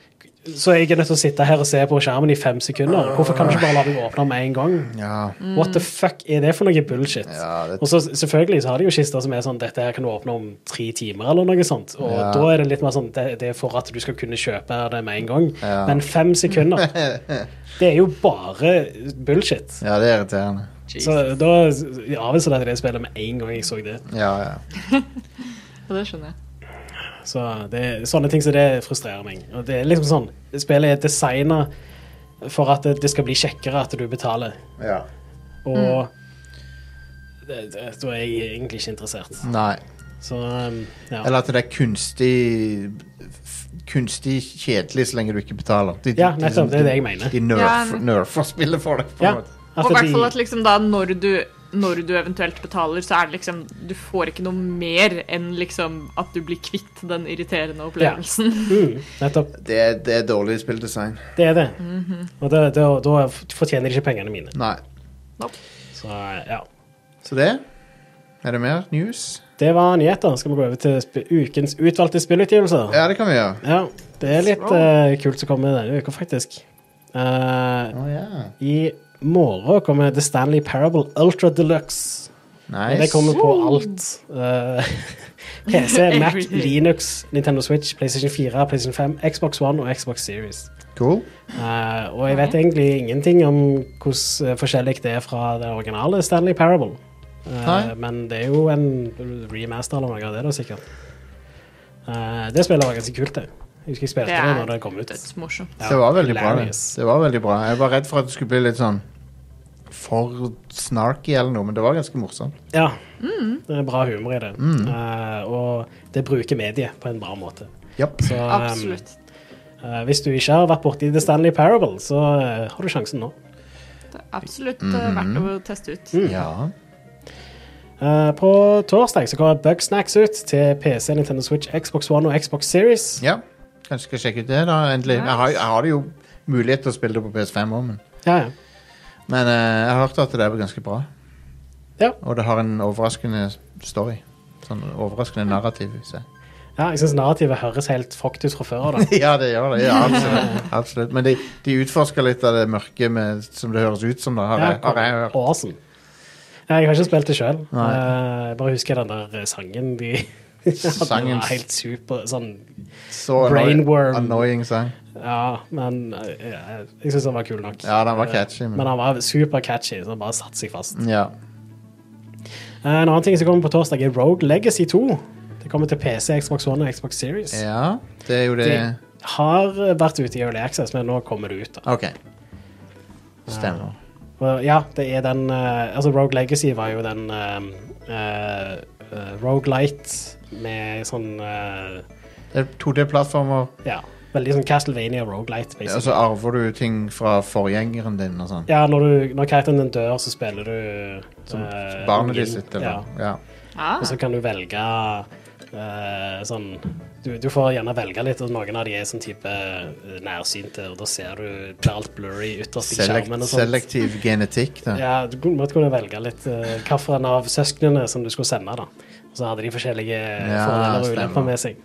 så jeg er nødt til å sitte her og se på skjermen i fem sekunder. Hvorfor kan du ikke bare la meg åpne med en gang?
Ja.
What the fuck er det for noe bullshit?
Ja, det-
Og så selvfølgelig så har de jo kister som er sånn Dette her kan du åpne om tre timer, eller noe sånt. Og
Ja.
da er det litt mer sånn det, det er for at du skal kunne kjøpe det med en gang.
Ja.
Men fem sekunder Det er jo bare bullshit.
ja, det er irriterende.
Så da avviser jeg det spillet med en gang jeg så det.
Ja, ja.
Og det skjønner jeg.
Så det, sånne ting som det frustrerer meg. Og det er liksom sånn, Spillet er designa for at det, det skal bli kjekkere at du betaler.
ja.
Og
Mm.
det, det, da er jeg egentlig ikke interessert.
Nei.
Så um, ja.
Eller at det er kunstig f- Kunstig kjedelig så lenge du ikke betaler. De,
Ja, nettopp, det er det jeg mener.
De nerf,
Ja, men-
nerfer spillet for deg. På
ja,
en måte.
at
Og i hvert fall
de-
at liksom da når du når du eventuelt betaler, så er det liksom Du får ikke noe mer enn liksom at du blir kvitt den irriterende opplevelsen.
mm, nettopp.
Det, er, det er dårlig spilldesign.
Det er det.
Mhm.
Og da- da- da fortjener de ikke pengene mine.
Nei.
Så ja.
Så det Er det mer news?
Det var nyheter. Skal vi gå over til sp ukens utvalgte spillutgivelser?
Ja, det kan vi gjøre.
Ja, det er litt eh, kult som kommer denne uka, faktisk. Eh,
Å ja.
I morgen kommer The Stanley Parable Ultra Deluxe. Og Det
Nice.
kommer på alt. Eh, PC, Mac,
Everything.
Linux, Nintendo Switch, PlayStation 4, PlayStation 5, Xbox One og Xbox Series.
Cool.
Eh, og jeg vet egentlig ingenting om hvordan eh, forskjellig det er fra det originale Stanley Parable. Eh,
Nei.
men det er jo en remaster eller noe av det, da, sikkert. Eh, det spillet var ganske kult, det. Jeg husker jeg spilte
Det
det,
er
når det kom ut.
dødsmorsomt.
Ja,
det var veldig bra. Det.
hilarious.
det var veldig bra. Jeg var redd for at det skulle bli litt sånn for snarky eller noe, men det var ganske morsomt.
Ja. Det er bra humor i det.
Mm.
Eh, og det bruker mediet på en bra måte.
Japp.
Så, um,
Absolutt.
eh, hvis du ikke har vært borti The Stanley Parable, så eh, har du sjansen nå.
Det er absolutt eh,
Mm.
verdt å teste
Mm.
ut.
Ja.
Eh, på torsdag så kommer Bugsnacks ut til PC, Nintendo Switch, Xbox One og Xbox Series.
ja. Kanskje skal sjekke ut det, da. Endelig. Jeg har, jeg har jo mulighet til å spille det på PS5 òg, men
Ja, ja.
Men eh, jeg har hørt at det er ganske bra.
Ja.
Og det har en overraskende story. Sånn overraskende narrativ. i seg.
Ja, jeg syns narrativet høres helt fucked ut fra før av. da.
ja, det gjør det. Ja, absolutt. absolutt. Men de, de utforsker litt av det mørke med, som det høres ut som, da, har, jeg, har jeg hørt.
Awesome. Ja, jeg har ikke spilt det sjøl.
Nei.
Jeg bare husker den der eh, sangen de
Sangen.
Den var helt super sånn
Så
Brainworm.
annoying sang.
Ja, men eh, jeg, jeg syns den var kul nok. Eh,
Ja, den var catchy.
Men
Men,
han var super catchy, så han bare satte seg fast.
ja.
Eh, En annen ting som kommer på torsdag, er Rogue Legacy 2. Det kommer til PC, Xbox One og Xbox Series.
ja, det er jo det
Det- Har vært ute i Early Access, men nå kommer det ut. da.
OK. Stemmer.
Og Ja, det er den eh, Altså, Rogue Legacy var jo den eh, uh, Rogue Light med sånn eh,
Det er 2D-plattformer,
Ja, veldig sånn Castlevania Roguelite,
og
basically.
så arver du ting fra forgjengeren din og sånn.
Ja, når, du, når karakteren din dør, så spiller du Som
Barnet ditt sitt, eller?
Ja,
Ja.
Ah,
og så kan du velge eh, sånn du, du får gjerne velge litt, og noen av de er sånn type eh, nærsynte, og da ser du blir alt blurry ytterst i
Selekt,
skjermen og sånt.
selektiv genetikk, da.
Ja, du kunne- måtte kunne velge litt eh, hvilken av søsknene som du skulle sende. da. Og så hadde de forskjellige fordeler og
stemmer.
ulemper med seg.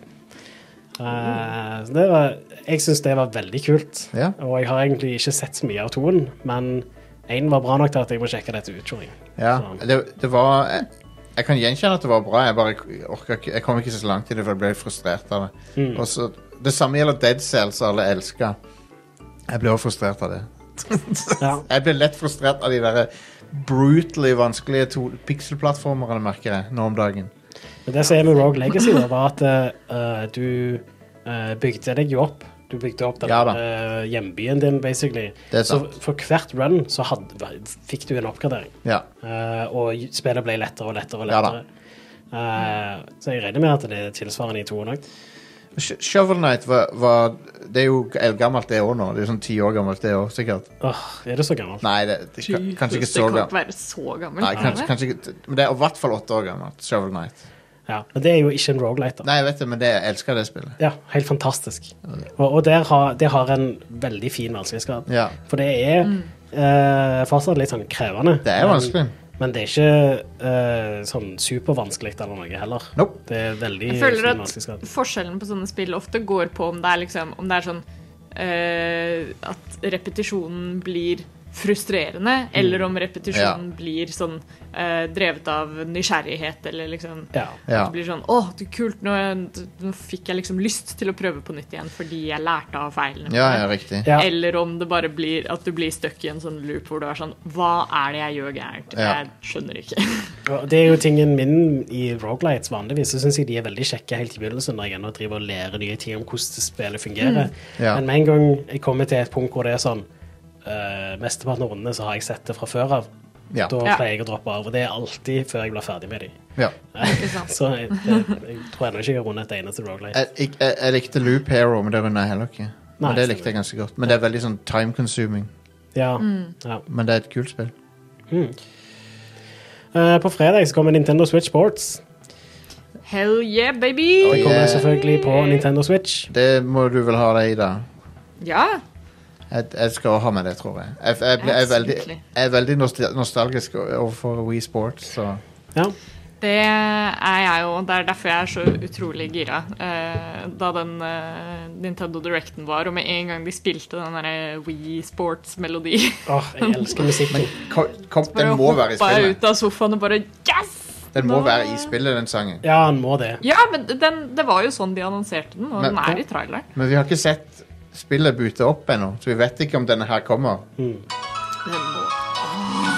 Eh, så det var, jeg syns det var veldig kult,
Ja.
og jeg har egentlig ikke sett så mye av toen, men én var bra nok til at jeg må sjekke dette ut. tror jeg.
Ja,
Så-
det, det var jeg, jeg kan gjenkjenne at det var bra. Jeg bare orker ikke Jeg kom ikke så langt i det, for jeg ble frustrert av det.
Mm.
Og så, det samme gjelder Dead Cells, som alle elsker. Jeg ble også frustrert av det.
Ja.
Jeg ble lett frustrert av de der brutally vanskelige to- pixel-plattformerne, merker jeg, nå om dagen.
Men det som er med Rogue Legacy, da, var at eh, du eh, bygde deg jo opp. Du bygde opp den
Ja da.
eh, hjembyen din, basically.
Det er
Så
sant.
for hvert run så hadde, fikk du en oppgradering.
Ja.
Eh, og spillet ble lettere og lettere og
Ja
lettere. Eh, så jeg regner med at det er tilsvarende i toen òg.
Sh- Shovel Knight var, var det er jo eldgammelt, det òg nå. Det er jo sånn ti år gammelt, det òg, sikkert.
Åh, er det så gammelt?
Nei, det, det, ka- kanskje ikke
det
så
kan ikke
gammelt.
være så gammelt.
Nei,
kan
kanskje,
det?
kanskje ikke, men det er i hvert fall åtte år gammelt. Shovel Knight.
Ja, men det er jo ikke en roguelite da.
Nei, jeg vet det, men det, jeg elsker det spillet.
Ja, helt fantastisk. Og, og der har, det har en veldig fin vanskelighetsgrad.
Ja.
For det er eh, fortsatt litt sånn krevende.
Det er
Men-
vanskelig.
Men det er ikke eh, sånn supervanskelig eller noe heller.
Nope.
Det er veldig
Jeg føler
fin
at
vanskelighetsgrad.
forskjellen på sånne spill ofte går på om det er liksom Om det er sånn eh, at repetisjonen blir frustrerende,
Mm.
eller om repetisjonen blir sånn eh, drevet av nysgjerrighet, eller liksom
Ja.
Ja.
Det blir sånn Å, det er kult, nå, nå fikk jeg liksom lyst til å prøve på nytt igjen fordi jeg lærte av feilene.
ja, ja, riktig.
Ja.
Eller om det bare blir at du blir stuck i en sånn loop hvor du er sånn Hva er det jeg gjør gærent?
Ja.
Jeg skjønner ikke.
Og Det er jo tingen min i Rogalights vanligvis. Så syns jeg de er veldig kjekke helt i begynnelsen når jeg ennå driver og lærer nye ting om hvordan spillet
Mm.
fungerer.
Ja.
Men med en gang jeg kommer til et punkt hvor det er sånn eh, Mesteparten av rundene så har jeg sett det fra før av.
Ja.
Da
Ja.
pleier jeg å droppe av. Og det er alltid før jeg blir ferdig med dem.
ja.
ikke sant?
Så jeg, jeg, jeg tror ennå ikke jeg har rundet et eneste Rogalight.
Jeg, jeg, jeg, jeg likte Loop Hero, men det runda jeg heller ikke. Men det
Nei, stemmer.
likte jeg ganske godt. Men det er veldig sånn time consuming.
Ja.
Mm.
ja.
Men det er et kult spill.
Eh, på fredag så kommer Nintendo Switch Sports.
Hell yeah, baby!
Det kommer
Yeah.
selvfølgelig på Nintendo Switch.
Det må du vel ha deg i, da.
Ja.
Jeg, jeg skal ha med det, tror jeg. Jeg, jeg, jeg, er, veldig, jeg er veldig nostal- nostalgisk overfor Wii Sports. Så.
Ja.
Det er jeg jo, og det er derfor jeg er så utrolig gira. Eh, Da den eh, Nintendo Directen var, og med en gang de spilte den derre We Sports-melodi
Åh, jeg elsker musikken.
Ko- Kom, den
bare
må være i
hoppa jeg
spillet.
ut av sofaen og bare Yes!
Den må
Nå-
være i spillet, den sangen.
Ja, han må det.
Ja, men den, det var jo sånn de annonserte den, og
Men-
den er i traileren.
Men vi har ikke sett spillet bute opp ennå, så vi vet ikke om denne her kommer.
Den må.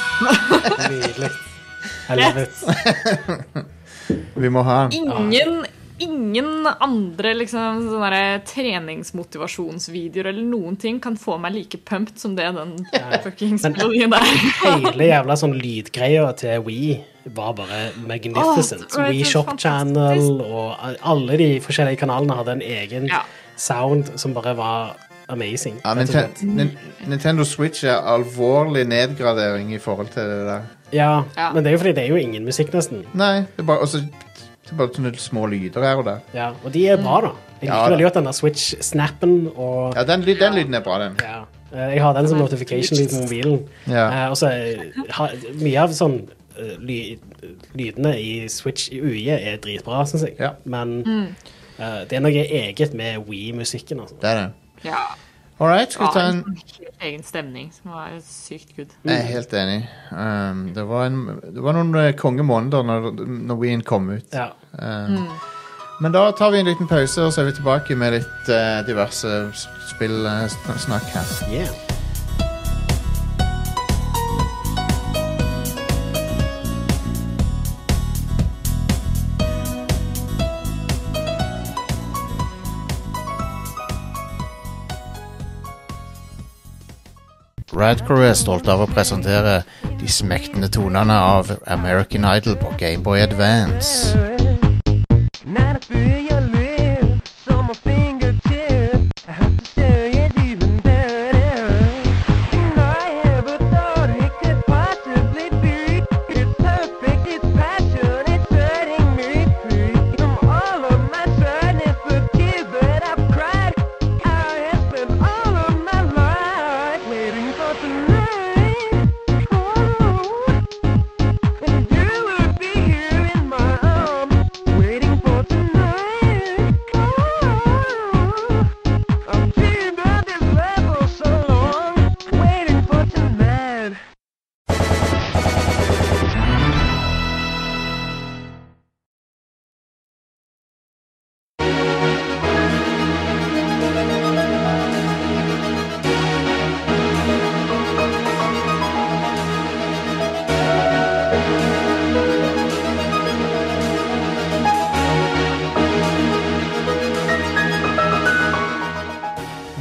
Nydelig. I love it.
Vi må ha den.
Ingen Ingen andre liksom, sånne der treningsmotivasjonsvideoer eller noen ting kan få meg like pumped som det den fuckings
Men-
melodien der.
Hele jævla sånn lydgreia til We var bare magnificent.
Åh, det var
We
helt
Shop
fantastisk.
Channel og alle de forskjellige kanalene hadde en egen
Ja. sound
sound som bare var amazing.
Ja,
rett og
Ninten-
slett.
Nin- Nintendo Switch er alvorlig nedgradering i forhold til det der.
ja,
Ja.
men det er jo fordi det er jo ingen musikk, nesten.
Nei, det er bare, også, det er bare sånne små lyder her og der.
Ja, og de er bra, da. Jeg
Ja,
liker
da.
veldig godt den der Switch-snappen og
Ja, den, ly den lyden er bra, den.
Ja. Eh, Jeg har den som notification lyd på mobilen.
Ja.
Eh, Og så eh, har- mye av sånn eh, ly, lydene i Switch i UiE er dritbra, syns jeg.
Ja.
Men eh, det er noe eget med We-musikken, altså.
Det er det.
Ja.
All right, skal vi ta
Ja,
en
en helt egen stemning som var sykt good.
Jeg er helt enig. Um, det, var en, det var noen eh, kongemåneder når, når Wien kom ut.
Ja.
Um, Men da tar vi en liten pause, og så er vi tilbake med litt eh, diverse s- spill eh, sn- snakk her.
Yeah.
Radcore er stolt av å presentere de smektende tonene av American Idol på Gameboy Advance.
Not a fear your lips on my fingertips. I have to stare at even better. I ever thought it could possibly be. It's perfect, it's passion, it's setting me free. From all of my sadness, the tears that I've cried, I have spent all of my life waiting for tonight. Oh. And you would be here in my arms, waiting for tonight. Oh, I've dreamed of this love for so long, waiting for tonight.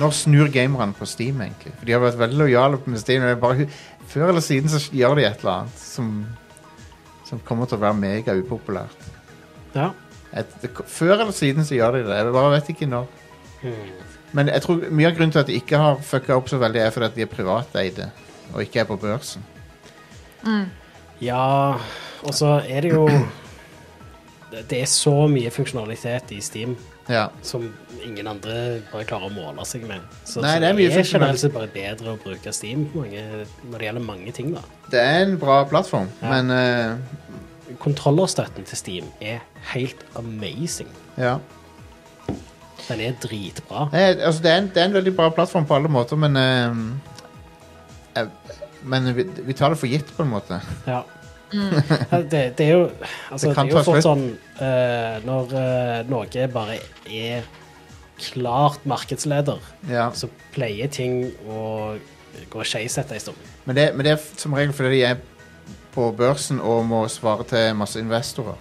Når snur gamerne på Steam, egentlig? For de har vært veldig lojale med Steam. men Bare, før eller siden så gjør de et eller annet som, som kommer til å være mega upopulært.
ja.
Et, det, før eller siden så gjør de det. Jeg bare vet ikke når. Men jeg tror mye av grunnen til at de ikke har fucka opp så veldig, er fordi at de er privateide og ikke er på børsen.
Ja, og så er det jo det- Det er så mye funksjonalitet i Steam
Ja.
som ingen andre bare klarer å måle seg med. Så,
Nei,
så
det er mye
generelt sett bare bedre å bruke Steam på mange, når det gjelder mange ting, da.
Det er en bra plattform,
Ja.
men eh,
Kontrollerstøtten til Steam er helt amazing.
ja.
Den er dritbra.
Nei, altså, det, er en, det er en veldig bra plattform på alle måter, men eh, eh, Men vi, vi tar det for gitt, på en måte.
Ja. Ja, det, det er jo altså,
Det
Det,
kan
er jo
ta
fort
slutt.
sånn eh, Når eh, noe bare er klart markedsleder,
Ja.
så pleier ting å gå skeis etter en stund.
Men, det, men det er som regel fordi de er på børsen og må svare til masse investorer.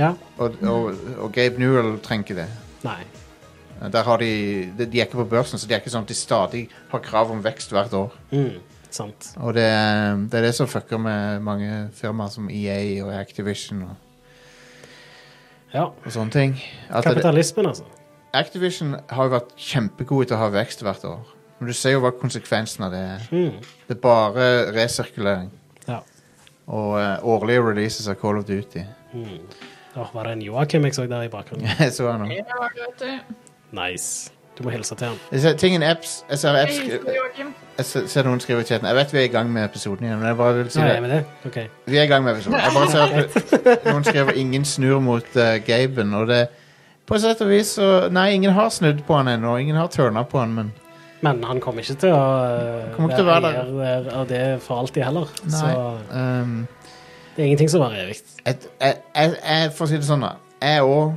Ja.
Og, og, og Gabe Newell trenger ikke det.
Nei.
Der har de, de de er ikke på børsen, så de er ikke sånn at de stadig har krav om vekst hvert år.
Mm, sant.
Og det, er- det er det som fucker med mange firmaer som EA og Activision og,
Ja.
og sånne ting. At det,
Kapitalismen, altså.
Activision har jo vært kjempegode til å ha vekst hvert år. Men du ser jo hva konsekvensen av det er.
Mm.
Det er bare resirkulering
Ja.
og eh, årlige releases av Call of Duty.
Mm. Åh, var det en Joakim jeg så der i bakgrunnen?
Jeg så han nå.
Det var det, vet du.
Nice. Du må hilse til han.
Jeg ser, tingen apps, jeg ser, apps,
Jeg hilser
jeg
Joakim.
ser, ser noen skrive i chatten Jeg vet vi er i gang med episoden igjen, men jeg bare vil si
Ja,
det.
jeg er med det. OK.
Vi er i gang med episoden. Jeg bare ser at noen skriver 'ingen snur mot uh, Gaben', og det På sett og vis så Nei, ingen har snudd på han ennå. Ingen har turna på han, men
Men han kommer ikke til å eh,
Kommer ikke til å være der.
eier eh, av det for alltid heller.
Nei.
Så
ehm,
det er ingenting som varer evig.
et, jeg, jeg, jeg, For å si det sånn, da. Jeg òg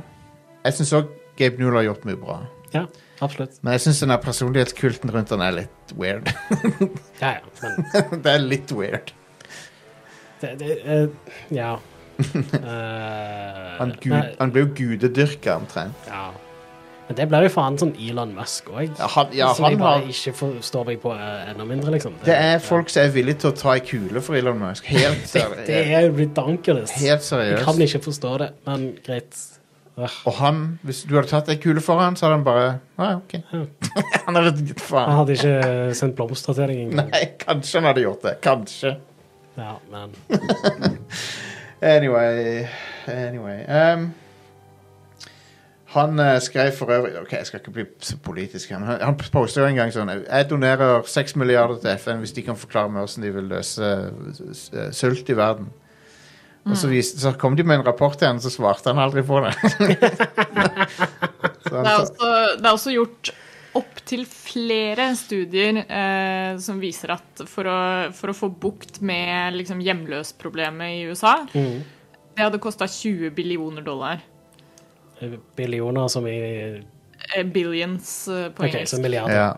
Jeg syns òg Gabe Newell har gjort mye bra.
Ja, absolutt.
Men jeg syns den der personlighetskulten rundt han er litt weird.
Ja, ja. Men
det er litt weird.
det, det, eh, ja. Eh,
Han, gud,
nei,
han blir jo gudedyrka, omtrent.
ja. Men det blir jo faen sånn Elon Musk òg.
Ja, han, ja,
som jeg
han
bare
har
ikke forstår meg på eh, enda mindre, liksom.
Det er folk som er villige til å ta ei kule for Elon Musk. Helt
Det, det
seriøst.
er jo blitt dankernes.
Helt
Jeg
seriøst.
kan ikke forstå det, men greit. Øh,
Og han, hvis du hadde tatt ei kule for han, så hadde han bare ah, ok. han hadde gitt
Han
faen.
hadde ikke sendt blomster til deg engang.
Nei, kanskje han hadde gjort det. Kanskje.
Ja, men
Anyway. Anyway. ehm, han eh, skrev for øvrig Ok, jeg skal ikke bli så politisk her, men han, han posta jo en gang sånn Jeg donerer 6 milliarder til FN hvis de kan forklare meg hvordan de vil løse eh, sult i verden. Og
Mm.
så, vis, så kom de med en rapport til han, så svarte han aldri på det. så han,
Det er
sa-
også, det er også gjort opptil flere studier eh, som viser at for å, for å få bukt med liksom, hjemløsproblemet i USA Det hadde kosta 20 billioner dollar.
eh, billioner som i
Eh, Billions eh, på
OK, så
engelsk.
milliarder.
ja.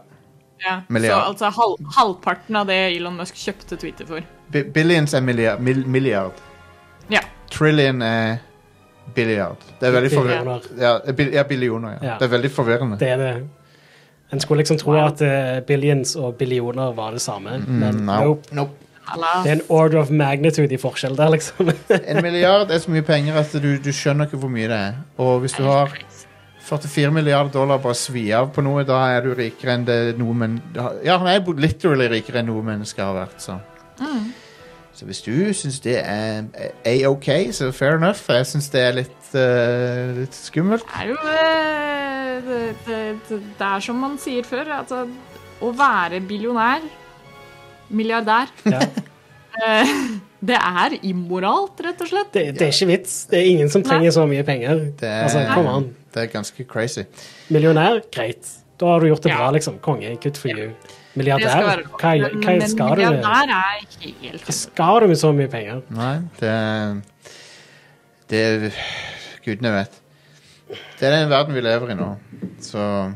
Ja. Så
milliard.
altså hal halvparten av det Elon Musk kjøpte Twitter for.
Bi- Billions er milliard, mil, milliard.
Ja.
Trillion er billiard. Det er veldig forvirrende.
Billioner.
Ja, bil, ja, billioner. Ja.
Ja.
Det er veldig forvirrende.
Det er det. En skulle liksom tro
Wow.
at eh, billions og billioner var det samme, men
Mm, no.
nope.
Alla.
Det er en order of magnitude i forskjell der, liksom.
En milliard er så mye penger at du, du skjønner ikke hvor mye det er. Og hvis du har 44 milliarder dollar bare svi av på noe, da er du rikere enn det noe men Ja, han er bo- literally rikere enn noe menneske har vært, så. Så hvis du syns det er A-OK, så fair enough. Jeg syns det er litt, eh, litt skummelt.
Det er jo eh, det, det, det, det er som man sier før, altså Å være billionær, milliardær, eh,
Ja.
det er immoralt, rett og slett.
Det, det er ikke vits. Det er ingen som trenger så mye penger.
Det er,
Altså, kom an.
det er ganske crazy.
Millionær, greit. Da har du gjort det bra,
Ja.
liksom. Konge, good for you.
Det skal
Milliardær,
være
hva,
Men-
hva
men
skal du med?
Milliardær er ikke helt
Hva skal du med så mye penger?
Nei, det er- Det er Gudene vet. Det er den verden vi lever i nå. Så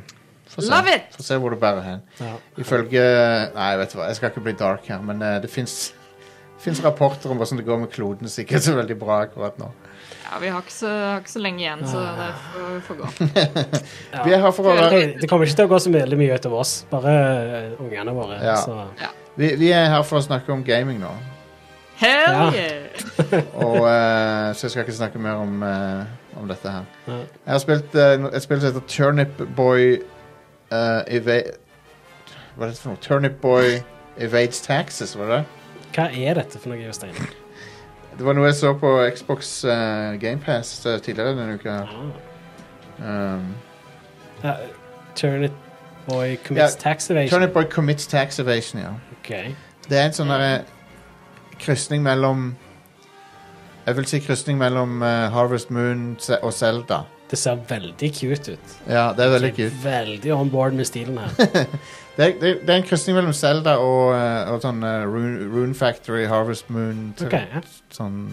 Få se,
Love it!
Få se hvor det bærer hen.
Ja.
Ifølge Nei, vet du hva, jeg skal ikke bli dark her, men eh, det fins rapporter om hvordan det går med kloden. så ikke er så veldig bra akkurat nå.
Ja, vi har ikke så, har ikke så lenge igjen, så
Ah.
det får, får gå.
Vi er her for å
Det,
være,
det kommer ikke til å gå så veldig mye utover oss, bare eh, ungene våre.
Ja.
Så.
vi, vi er her for å snakke om gaming nå.
Hell
Ja.
yeah!
Og, eh, så jeg skal ikke snakke mer om, eh, om dette her.
Ja.
Jeg har spilt eh, no- et spill som heter Turnip Boy eh, eva- Hva er det for noe? Turnip Boy evades taxes, var det det?
Hva er dette for noe, Jostein?
Det var noe jeg så på Xbox uh, GamePass tidligere denne uka. Um,
Ja, turn it boy commits
Ja,
tax evasion.
Turnip Boy commits tax evasion, ja.
Ok.
Det er en sånn derre krysning mellom Jeg vil si krysning mellom eh, Harvest Moon se- og Zelda.
Det ser veldig cute ut.
Ja, det er veldig
Jeg
kult.
er Veldig on board med stilen her.
Det er, det, er- det er en krysning mellom Zelda og, eh, og sånn eh, Rune, Rune Factory, Harvest Moon til,
Ok, ja.
Sånn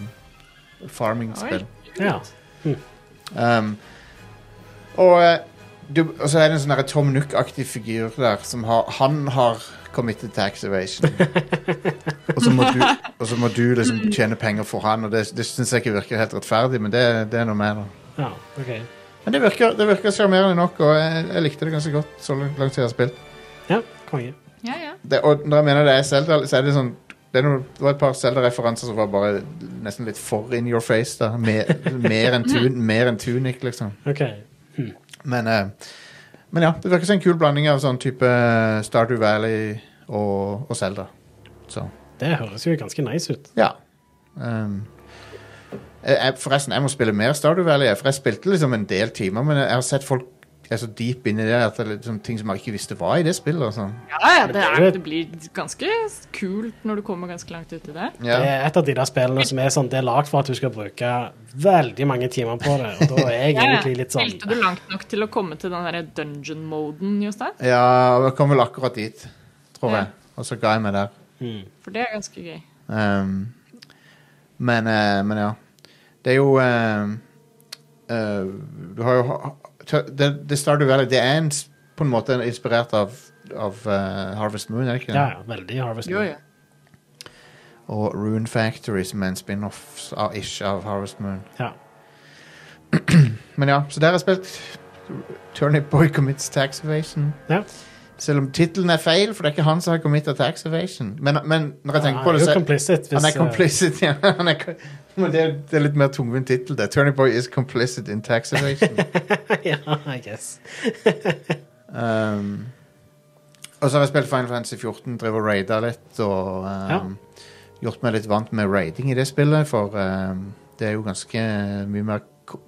farming-spill.
ja.
Um, og eh, du, og så er det en sånn derre Tom Nook-aktig figur der som har Han har committed tax evasion. og, så må du, og så må du liksom tjene penger for han, og det, det syns jeg ikke virker helt rettferdig, men det, det er noe med det.
ja. Ok.
Men det virker, det virker sjarmerende nok, og jeg, jeg likte det ganske godt så langt langt jeg har spilt.
Ja, konge.
Ja, ja.
Det, og når jeg mener det er Zelda, så er det sånn det, er noe, det var et par Zelda-referanser som var bare nesten litt for in your face. da Mer, mer enn tun, mer enn Tunic, liksom.
Ok.
Men, eh, men ja, det virker som en kul blanding av sånn type Stardew Valley og, og Zelda. Så
Det høres jo ganske nice ut.
ja. Um, jeg, jeg- forresten, jeg må spille mer Stardew Valley, jeg, for jeg spilte liksom en del timer, men jeg har sett folk er så deep inni det at det er liksom ting som jeg ikke visste var i det spillet. og sånn.
ja, ja det, er, det blir ganske kult når du kommer ganske langt ut i det.
Det
Ja.
er et av de der spillene som er sånn, det er lagd for at du skal bruke veldig mange timer på det. Og da er jeg egentlig litt sånn
Spilte du langt nok til å komme til den derre dungeon-moden, Jostein?
ja, og jeg kom vel akkurat dit, tror
Ja.
jeg. Og så ga jeg meg der.
mm.
For det er ganske gøy.
Um, men, eh, men ja. Det er jo eh, eh, Du har jo ha- ha- det, det Stardew Valley det er en, s- på en måte inspirert av, av eh, Harvest Moon, er det ikke? det?
Ja, ja, veldig Harvest Moon.
Og Rune Factory, som er en spin-off av- ish av Harvest Moon.
Ja.
Men ja, så der har jeg spilt Turnip Boy Commits Tax Evasion.
Ja.
Selv om tittelen er feil, for det er ikke han som har committet tax evasion. Men, men når jeg tenker på det,
Han
så
er jo complicit. hvis,
Han er
eh,
complicit, ja. Han er, co- men det er, det er litt mer tungvint tittel, det. Turning Boy is complicit in tax evasion.
ja, I guess.
um, og så har jeg spilt Final Fantasy 14, drevet og raida litt og um, gjort meg litt vant med raiding i det spillet, for um, det er jo ganske mye mer ko-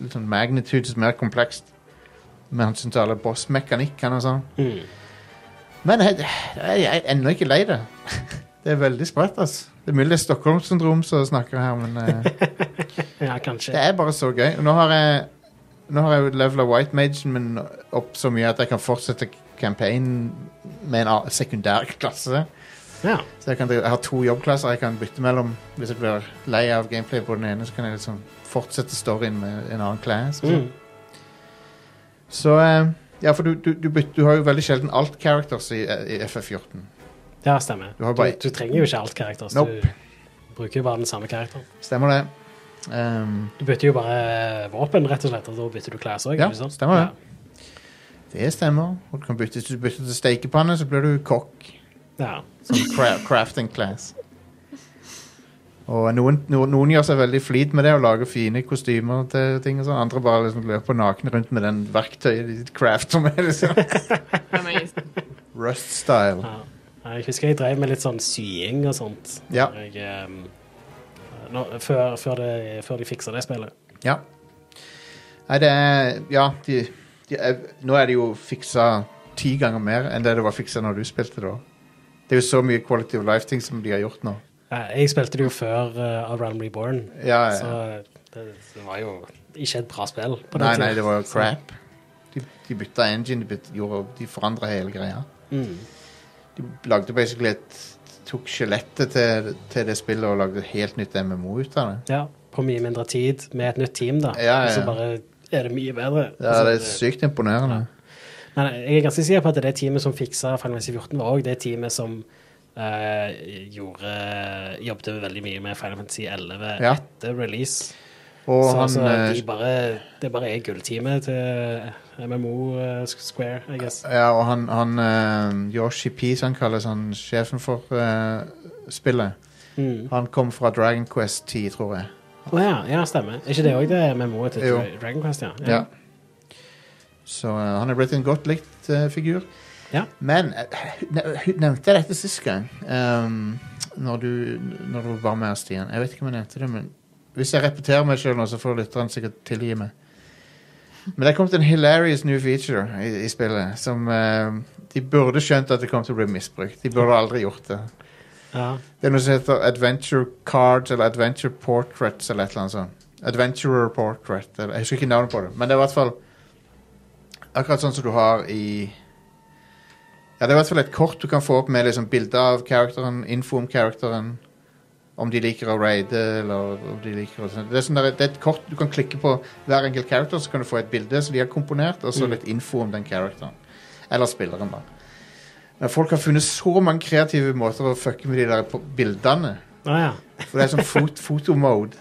litt sånn magnitudes mer komplekst med hans tale boss-mekanikk og sånn.
Mm.
Men jeg, jeg, jeg er ennå ikke lei det. Det er veldig sprøtt, altså. Det er mulig det er Stockholm-syndrom som snakker her, men eh,
Ja, kanskje.
Det er bare så gøy. Og Nå har jeg Nå har jeg jo levela White Magen min opp så mye at jeg kan fortsette campaignen med en a- sekundær klasse.
Ja.
Så jeg, kan, drive- jeg har to jobbklasser jeg kan bytte mellom. Hvis jeg blir lei av gameplay på den ene, så kan jeg liksom fortsette storyen med en annen class.
Mm.
Så eh, Ja, for du, du, du, byt- du har jo veldig sjelden alt characters i, i FF14.
ja, stemmer.
Du
Du,
har bare-
du trenger jo ikke alt karakter. så
Nope.
Du bruker jo bare den samme karakteren.
Stemmer det? Ehm,
Du bytter jo bare eh, våpen, rett og slett, og da bytter du klær òg.
Ja, stemmer det. det stemmer. Og du kan bytte, hvis du bytter til stekepanne, så blir du kokk.
Ja.
Sånn cra crafting class. Og noen, noen, noen gjør seg veldig flid med det og lager fine kostymer til ting og sånn. Andre bare liksom løper nakne rundt med den verktøyet de crafter med. liksom.
Det er amazing.
Rust style.
Ja. Ja, Jeg husker jeg drev med litt sånn sying og sånt.
Ja.
Jeg, ehm, nå- før, før, det, før de fikser det spillet.
Ja. Nei, det er Ja, de, de er, nå er det jo fiksa ti ganger mer enn det det var fiksa når du spilte det. også. Det er jo så mye quality of life-ting som de har gjort nå.
Ja, Jeg spilte det jo før uh, av Realm Reborn,
Ja,
så
ja.
det, det var jo ikke et bra spill. på den
Nei,
tiden.
nei, det var jo crap. De, de bytta engine, de, byt- gjorde- de forandra hele greia.
Mm.
De lagde basically et Tok skjelettet til, til det spillet og lagde et helt nytt MMO ut av det.
Ja, på mye mindre tid, med et nytt team, da.
Ja, ja,
Og Så
ja.
bare er det mye bedre.
Ja,
Altså,
det er sykt imponerende.
Men jeg er ganske sikker på at det teamet som fiksa Final Fantasy 14, var òg det teamet som eh, gjorde Jobbet veldig mye med Final Fantasy 11
Ja.
etter release.
Og
så
han
altså, de
eh,
bare, det bare er gullteamet til MMO eh, Square, I guess.
Ja, og han, han eh, Yoshi P, som han kalles, han sjefen for eh, spillet,
Mm.
han kom fra Dragon Quest 10, tror jeg.
Å ja, ja, stemmer. Er ikke det òg det MMO-et til
Jo.
Dragon Quest? Ja.
Ja. Så eh, han er blitt en godt likt Minecraft-figur.
Ja.
Men eh, ne- hun nevnte dette sist gang, ehm, når, du, når du var med, Stian. Jeg vet ikke om jeg nevnte det, men hvis jeg repeterer meg sjøl nå, så får lytteren sikkert tilgi meg. Men det er kommet en hilarious new feature i, i spillet som ehm, De burde skjønt at det kom til å bli misbrukt. De burde aldri gjort det.
Ja.
Det er noe som heter Adventure Cards eller Adventure Portraits eller et eller annet sånt. Adventurer Portrait. Eller, jeg husker ikke navnet på det, men det er i hvert fall akkurat sånn som du har i Ja, det er i hvert fall et kort du kan få opp med liksom bilde av characteren, info om characteren, om de liker å raide eller om de liker å sånn. det, er sånn der, det er et kort du kan klikke på hver enkelt character, så kan du få et bilde som de har komponert, og så
Mm.
litt info om den characteren. Eller spilleren, da. Men folk har funnet så mange kreative måter å fucke med de der på- bildene.
Ah, ja.
For det er sånn fot fotomode.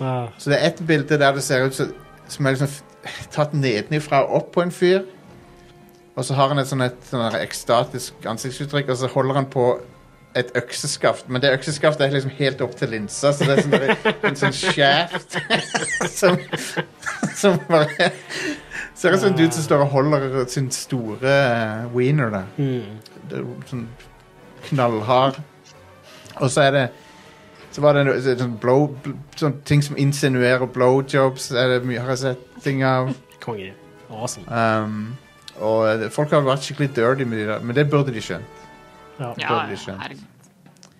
Ah,
Så det er ett bilde der det ser ut som, som er liksom f- tatt nedenifra og opp på en fyr. Og så har han et sånn et sånn der ekstatisk ansiktsuttrykk, og så holder han på et økseskaft. Men det økseskaftet er liksom helt opp til linsa, så det er sånn der, en sånn skjæft som, som bare Ser ut som en dude som står og holder sin store eh, wiener der
mm.
det er jo sånn knallhard. Og så er det så var det noe, så- sånn blow, bl- sånn ting som insinuerer blowjobs, er det mye har jeg sett ting av.
Konge. Awesome.
Um, og det- folk har vært skikkelig dirty med de der, men det burde de skjønt.
Ja.
Ja,
burde de
ja,
skjønt.
herregud.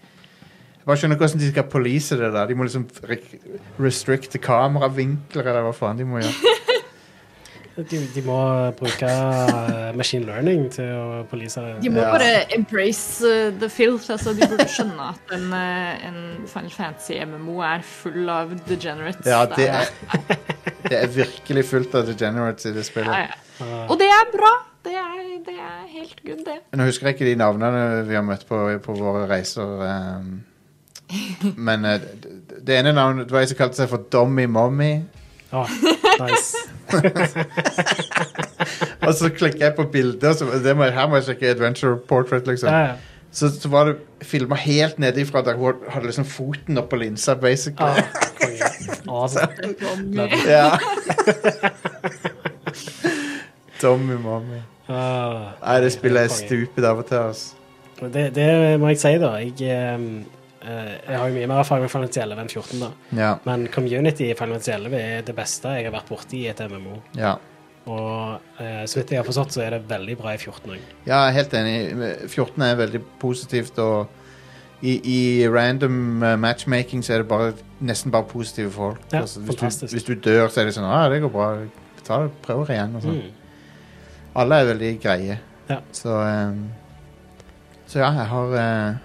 Jeg bare skjønner ikke hvordan de skal police det der. De må liksom re- restrikte kameravinkler, eller hva faen de må gjøre.
De, de må bruke eh, machine learning til å polise
De
det.
må
Ja.
bare embrace uh, the filth. Altså, de burde skjønne at en, uh, en Final Fantasy MMO er full av degenerates.
Ja, det er,
er-
det er virkelig fullt av degenerates i det spillet.
ja, ja. Og det er bra! Det er, det er helt good, det.
Nå husker jeg ikke de navnene vi har møtt på, på våre reiser. ehm. men eh, d- d- det ene navnet det var en som kalte seg for Dommy Mommy.
Ah, nice.
Og så klikker jeg på bilder, så det må, jeg- her må jeg sjekke Adventure Portrait, liksom.
Ja, ja.
Så, så var det filma helt nede ifra der hun hadde liksom foten oppå linsa, basically.
Ah, konge. Awesome.
Ja. Dommy Mommy.
Ah,
Nei, det spillet er
konge.
stupid av og til, altså.
Det, det må jeg si, da. Jeg, ehm, eh, jeg har jo mye mer erfaring med Final Fantasy 11 enn 14, da.
Ja.
Men community i Final Fantasy 11 er det beste jeg har vært borti i et MMO.
ja.
Og eh, så vidt jeg har forstått, så er det veldig bra i 14 òg.
Ja, jeg er helt enig. 14 er veldig positivt, og i, i random eh, matchmaking så er det bare, nesten bare positive folk. Altså,
Ja,
hvis, du,
fantastisk.
hvis du dør, så er det sånn Ja, ah, det går bra. Ta det, prøver igjen. Og sånn.
Mm.
Alle er veldig greie.
Ja.
Så ehm, Så ja, jeg har eh,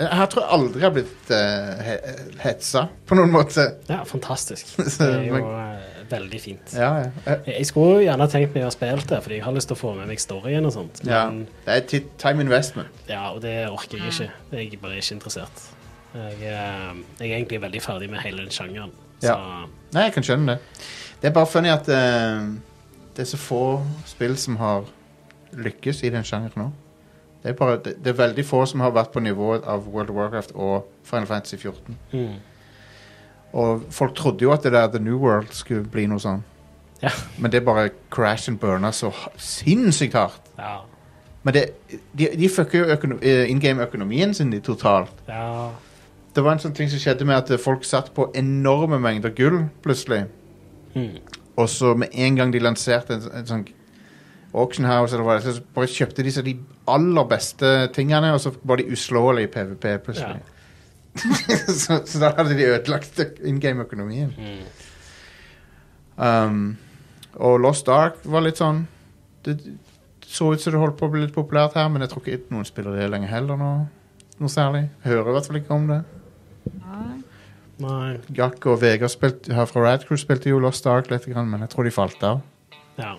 Jeg har- tror jeg aldri jeg har blitt eh, he- hetsa på noen måte.
Ja, fantastisk.
Så,
Det er jo
men-
eh, veldig fint.
Ja, ja. Eh,
Jeg skulle jo gjerne tenkt meg å ha spilt det, fordi jeg har lyst til å få med meg storyen og sånt.
ja.
Men
Det er ti- time investment.
ja, og det orker jeg ikke.
Mm.
Jeg er bare ikke interessert. Jeg, eh, jeg er egentlig veldig ferdig med hele den sjangeren. Så
Ja. Nei, jeg kan skjønne det. Det er bare funny at eh, det er så få spill som har lykkes i den sjangeren nå. Det er, bare, det, det er veldig få som har vært på nivået av World of Warcraft og Final Fantasy 14.
mm.
Og folk trodde jo at det der The New World skulle bli noe sånn.
Ja.
Men det bare crash and burner så ha- sinnssykt hardt.
ja.
Men det, de, de fucker jo økono, in game-økonomien sin de totalt.
ja.
Det var en sånn ting som skjedde med at eh, folk satt på enorme mengder gull plutselig.
Mm.
Og så med en gang de lanserte en, en sånn auction house, eller hva det er, så bare kjøpte de så de aller beste tingene, og så var de uslåelige i PVP plutselig. så, så da hadde de ødelagt in game-økonomien.
Mm.
Um, og Lost Ark var litt sånn Det så ut som det holdt på å bli litt populært her, men jeg tror ikke noen spiller det lenger heller nå. Noe særlig. Hører i hvert fall ikke om det.
Nei.
Jack og Vegard spilte, her fra Radcrew spilte jo Lost Ark litt, grann, men jeg tror de falt av.
Ja.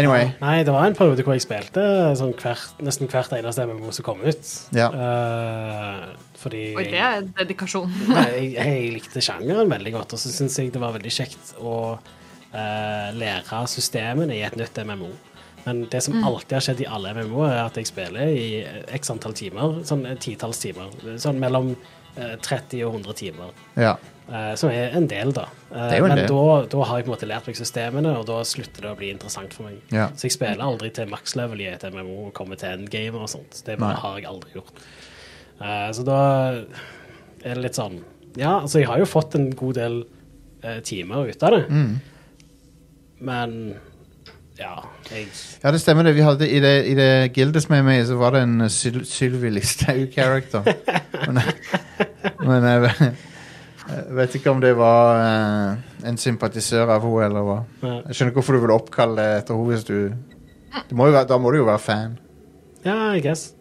Anyway.
Nei, det var en periode hvor jeg spilte sånn hvert, nesten hvert eneste MMO som kom ut.
Ja.
Eh, fordi
Oi, det er dedikasjon.
Nei, jeg, jeg likte sjangeren veldig godt, og så syns jeg det var veldig kjekt å eh, lære systemene i et nytt MMO. Men det
Mm.
som alltid har skjedd i alle MMO, er at jeg spiller i x antall timer, sånn eh, titalls timer. Sånn mellom eh, 30 og 100 timer.
Ja.
Eh, som er en del, da. Eh,
Det er jo en
men
del.
da, da har jeg på en måte lært meg systemene, og da slutter det å bli interessant for meg.
Ja.
Så jeg spiller aldri til max level i et MMO og kommer til endgamer og sånt. Det bare
Nei.
har jeg aldri gjort. Eh, så da er det litt sånn Ja, altså, jeg har jo fått en god del eh, timer ut av det,
Mm.
men ja jeg,
Ja, det stemmer det. Vi hadde I det, i det gildet som jeg er med i, så var det en eh, Syl Sylvi Listhaug-character. Men, men jeg, ve- jeg vet ikke om det var eh, en sympatisør av henne eller hva.
Nei.
Jeg skjønner ikke hvorfor du ville oppkalle det etter henne hvis du det må jo være, Da må du jo være fan.
Ja, I guess.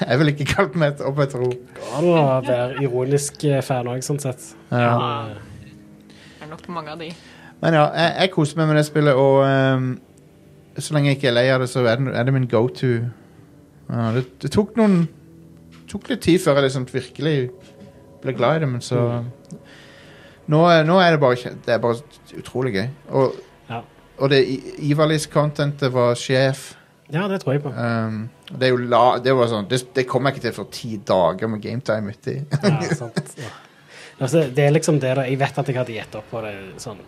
Jeg ville ikke kalt meg et- opp etter henne.
Går det å være ironisk eh, fan òg, sånn sett?
Ja.
Men, eh,
Det er nok mange av de.
Men ja, jeg, jeg koser meg med det spillet, og ehm, så lenge jeg ikke er lei av det, så er det, er det min go to. Ja, det, det tok noen tok litt tid før jeg liksom virkelig ble glad i det, men så
Mm.
nå, er- nå er det bare kje- Det er bare utrolig gøy. Og,
Ja.
og det I- Ivalis-contentet var sjef.
ja, det tror jeg på.
ehm, det, er jo la, det var sånn Det, det kom jeg ikke til for ti dager med gametime uti.
Ja, sant. Ja. Altså, det er liksom det da, Jeg vet at jeg hadde gjetta på det sånn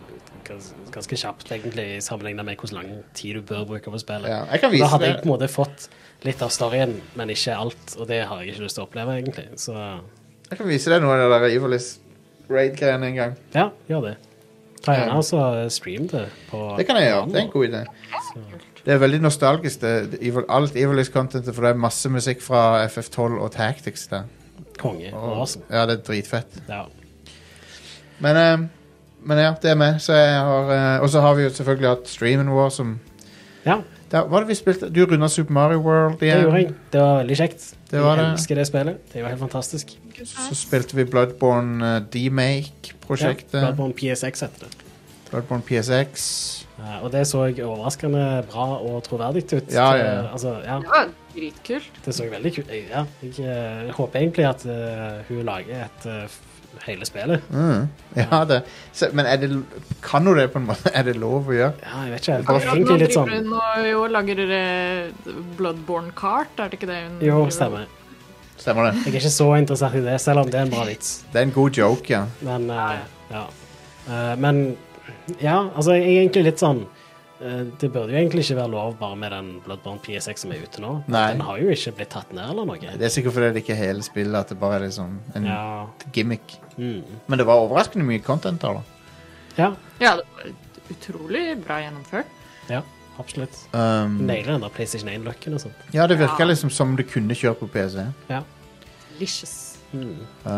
gans- ganske kjapt, egentlig, sammenligna med hvor lang tid du bør bruke på spillet.
ja, jeg kan
Da
vise
hadde
det.
jeg på en måte fått litt av storyen, men ikke alt, og det har jeg ikke lyst til å oppleve, egentlig. Så
Jeg kan vise deg noe av det der Ivalis raid-greiene en gang.
ja, gjør det. Ta
Ja.
gjerne altså stream det på
Det kan jeg gjøre. Det er en god idé. Det er veldig nostalgisk. Det, det, Evil- alt Evilist-contentet, for det er masse musikk fra FF12 og Tactics der.
konge.
Og,
Awesome.
ja, det er dritfett.
Ja.
Men, eh, men ja, det er med. Så jeg har, eh, og så har vi jo selvfølgelig hatt streamen vår som
ja,
der, Hva var det vi spilte? Du runda Super Mario World
det gjorde
igjen.
jeg. Det var veldig kjekt.
Det var
jeg
det.
elsker det spillet. Det er jo helt fantastisk.
Så spilte vi Bloodborne eh, D-Make-prosjektet.
Ja, Bloodborne PSX heter det.
Bloodborne PSX.
Eh, Og det så overraskende bra og troverdig ut.
Ja, ja, ja.
Eh, Altså, ja,
Det var dritkult.
det så veldig kult ut. Ja, jeg eh, håper egentlig at eh, hun lager et eh, f- hele spillet.
Mm. Ja, det. Så, men er det, kan hun det, på en måte? Er det lov å gjøre?
Ja, jeg vet ikke. Det er
Akkurat nå
egentlig litt
driver
sånn
hun og jo, lager eh, Bloodborne Kart, er det ikke det hun
Jo,
driver-
stemmer.
Stemmer det.
Jeg er ikke så interessert i det, selv om det er en bra vits.
Det er en god joke, ja.
Men eh, ja. Eh, men ja, altså jeg er egentlig litt sånn eh, Det burde jo egentlig ikke være lov bare med den Bloodborne PSX som er ute nå.
Nei.
Den har jo ikke blitt tatt ned eller noe.
Det er sikkert fordi det ikke er hele spillet, at det bare er liksom en
Ja.
gimmick.
Mm.
Men det var overraskende mye content der, da.
ja.
Ja, det var utrolig bra gjennomført.
Ja, absolutt.
Um,
Nailer den der PlayStation 1-løkken og sånt.
ja, det virka
Ja.
liksom som det kunne kjøre på PC.
Ja.
Delicious.
Uh,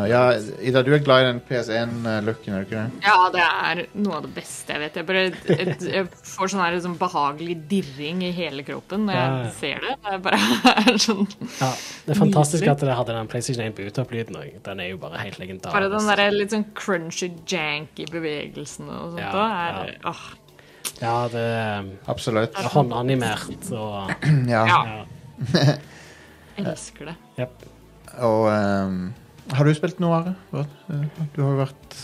ja, Ida, du er glad i den PS1-looken, er du ikke det?
Ja, det er noe av det beste jeg vet. Jeg, bare, et, jeg får sånn her sånn behagelig dirring i hele kroppen når
Ja, ja.
jeg ser det. Det er bare sånn
ja. Det er fantastisk at det hadde den PlayStation 1 på utopplyden òg. Den er jo bare helt
Bare den
legendarisk.
der litt sånn crunchy jank i bevegelsen og sånt
Ja,
da er åh,
Ja, det er
Absolutt.
håndanimert og
Ja.
Ja.
ja.
Jeg elsker det.
Jepp.
Og um, Har du spilt noe, Are? Hva- uh, Du har jo vært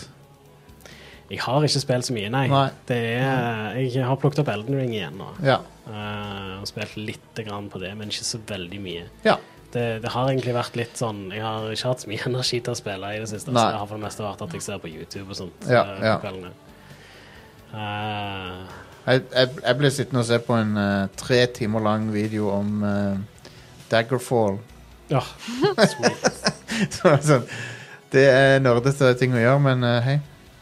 Jeg har ikke spilt så mye, nei.
Nei.
Det er, jeg har plukket opp Elden Ring igjen nå.
Ja.
Eh, og spilt lite grann på det, men ikke så veldig mye.
ja.
Det, det har egentlig vært litt sånn Jeg har ikke hatt så mye energi til å spille i det siste.
Nei.
Så det har for det meste vært at jeg ser på YouTube og sånt.
Ja,
eh,
ja.
på kveldene. Eh,
Jeg, jeg, jeg ble sittende og se på en uh, tre timer lang video om uh, Daggerfall.
Eh, Ja. Sweet.
Så det er sånn, det er nerdete ting å gjøre, men eh, hei.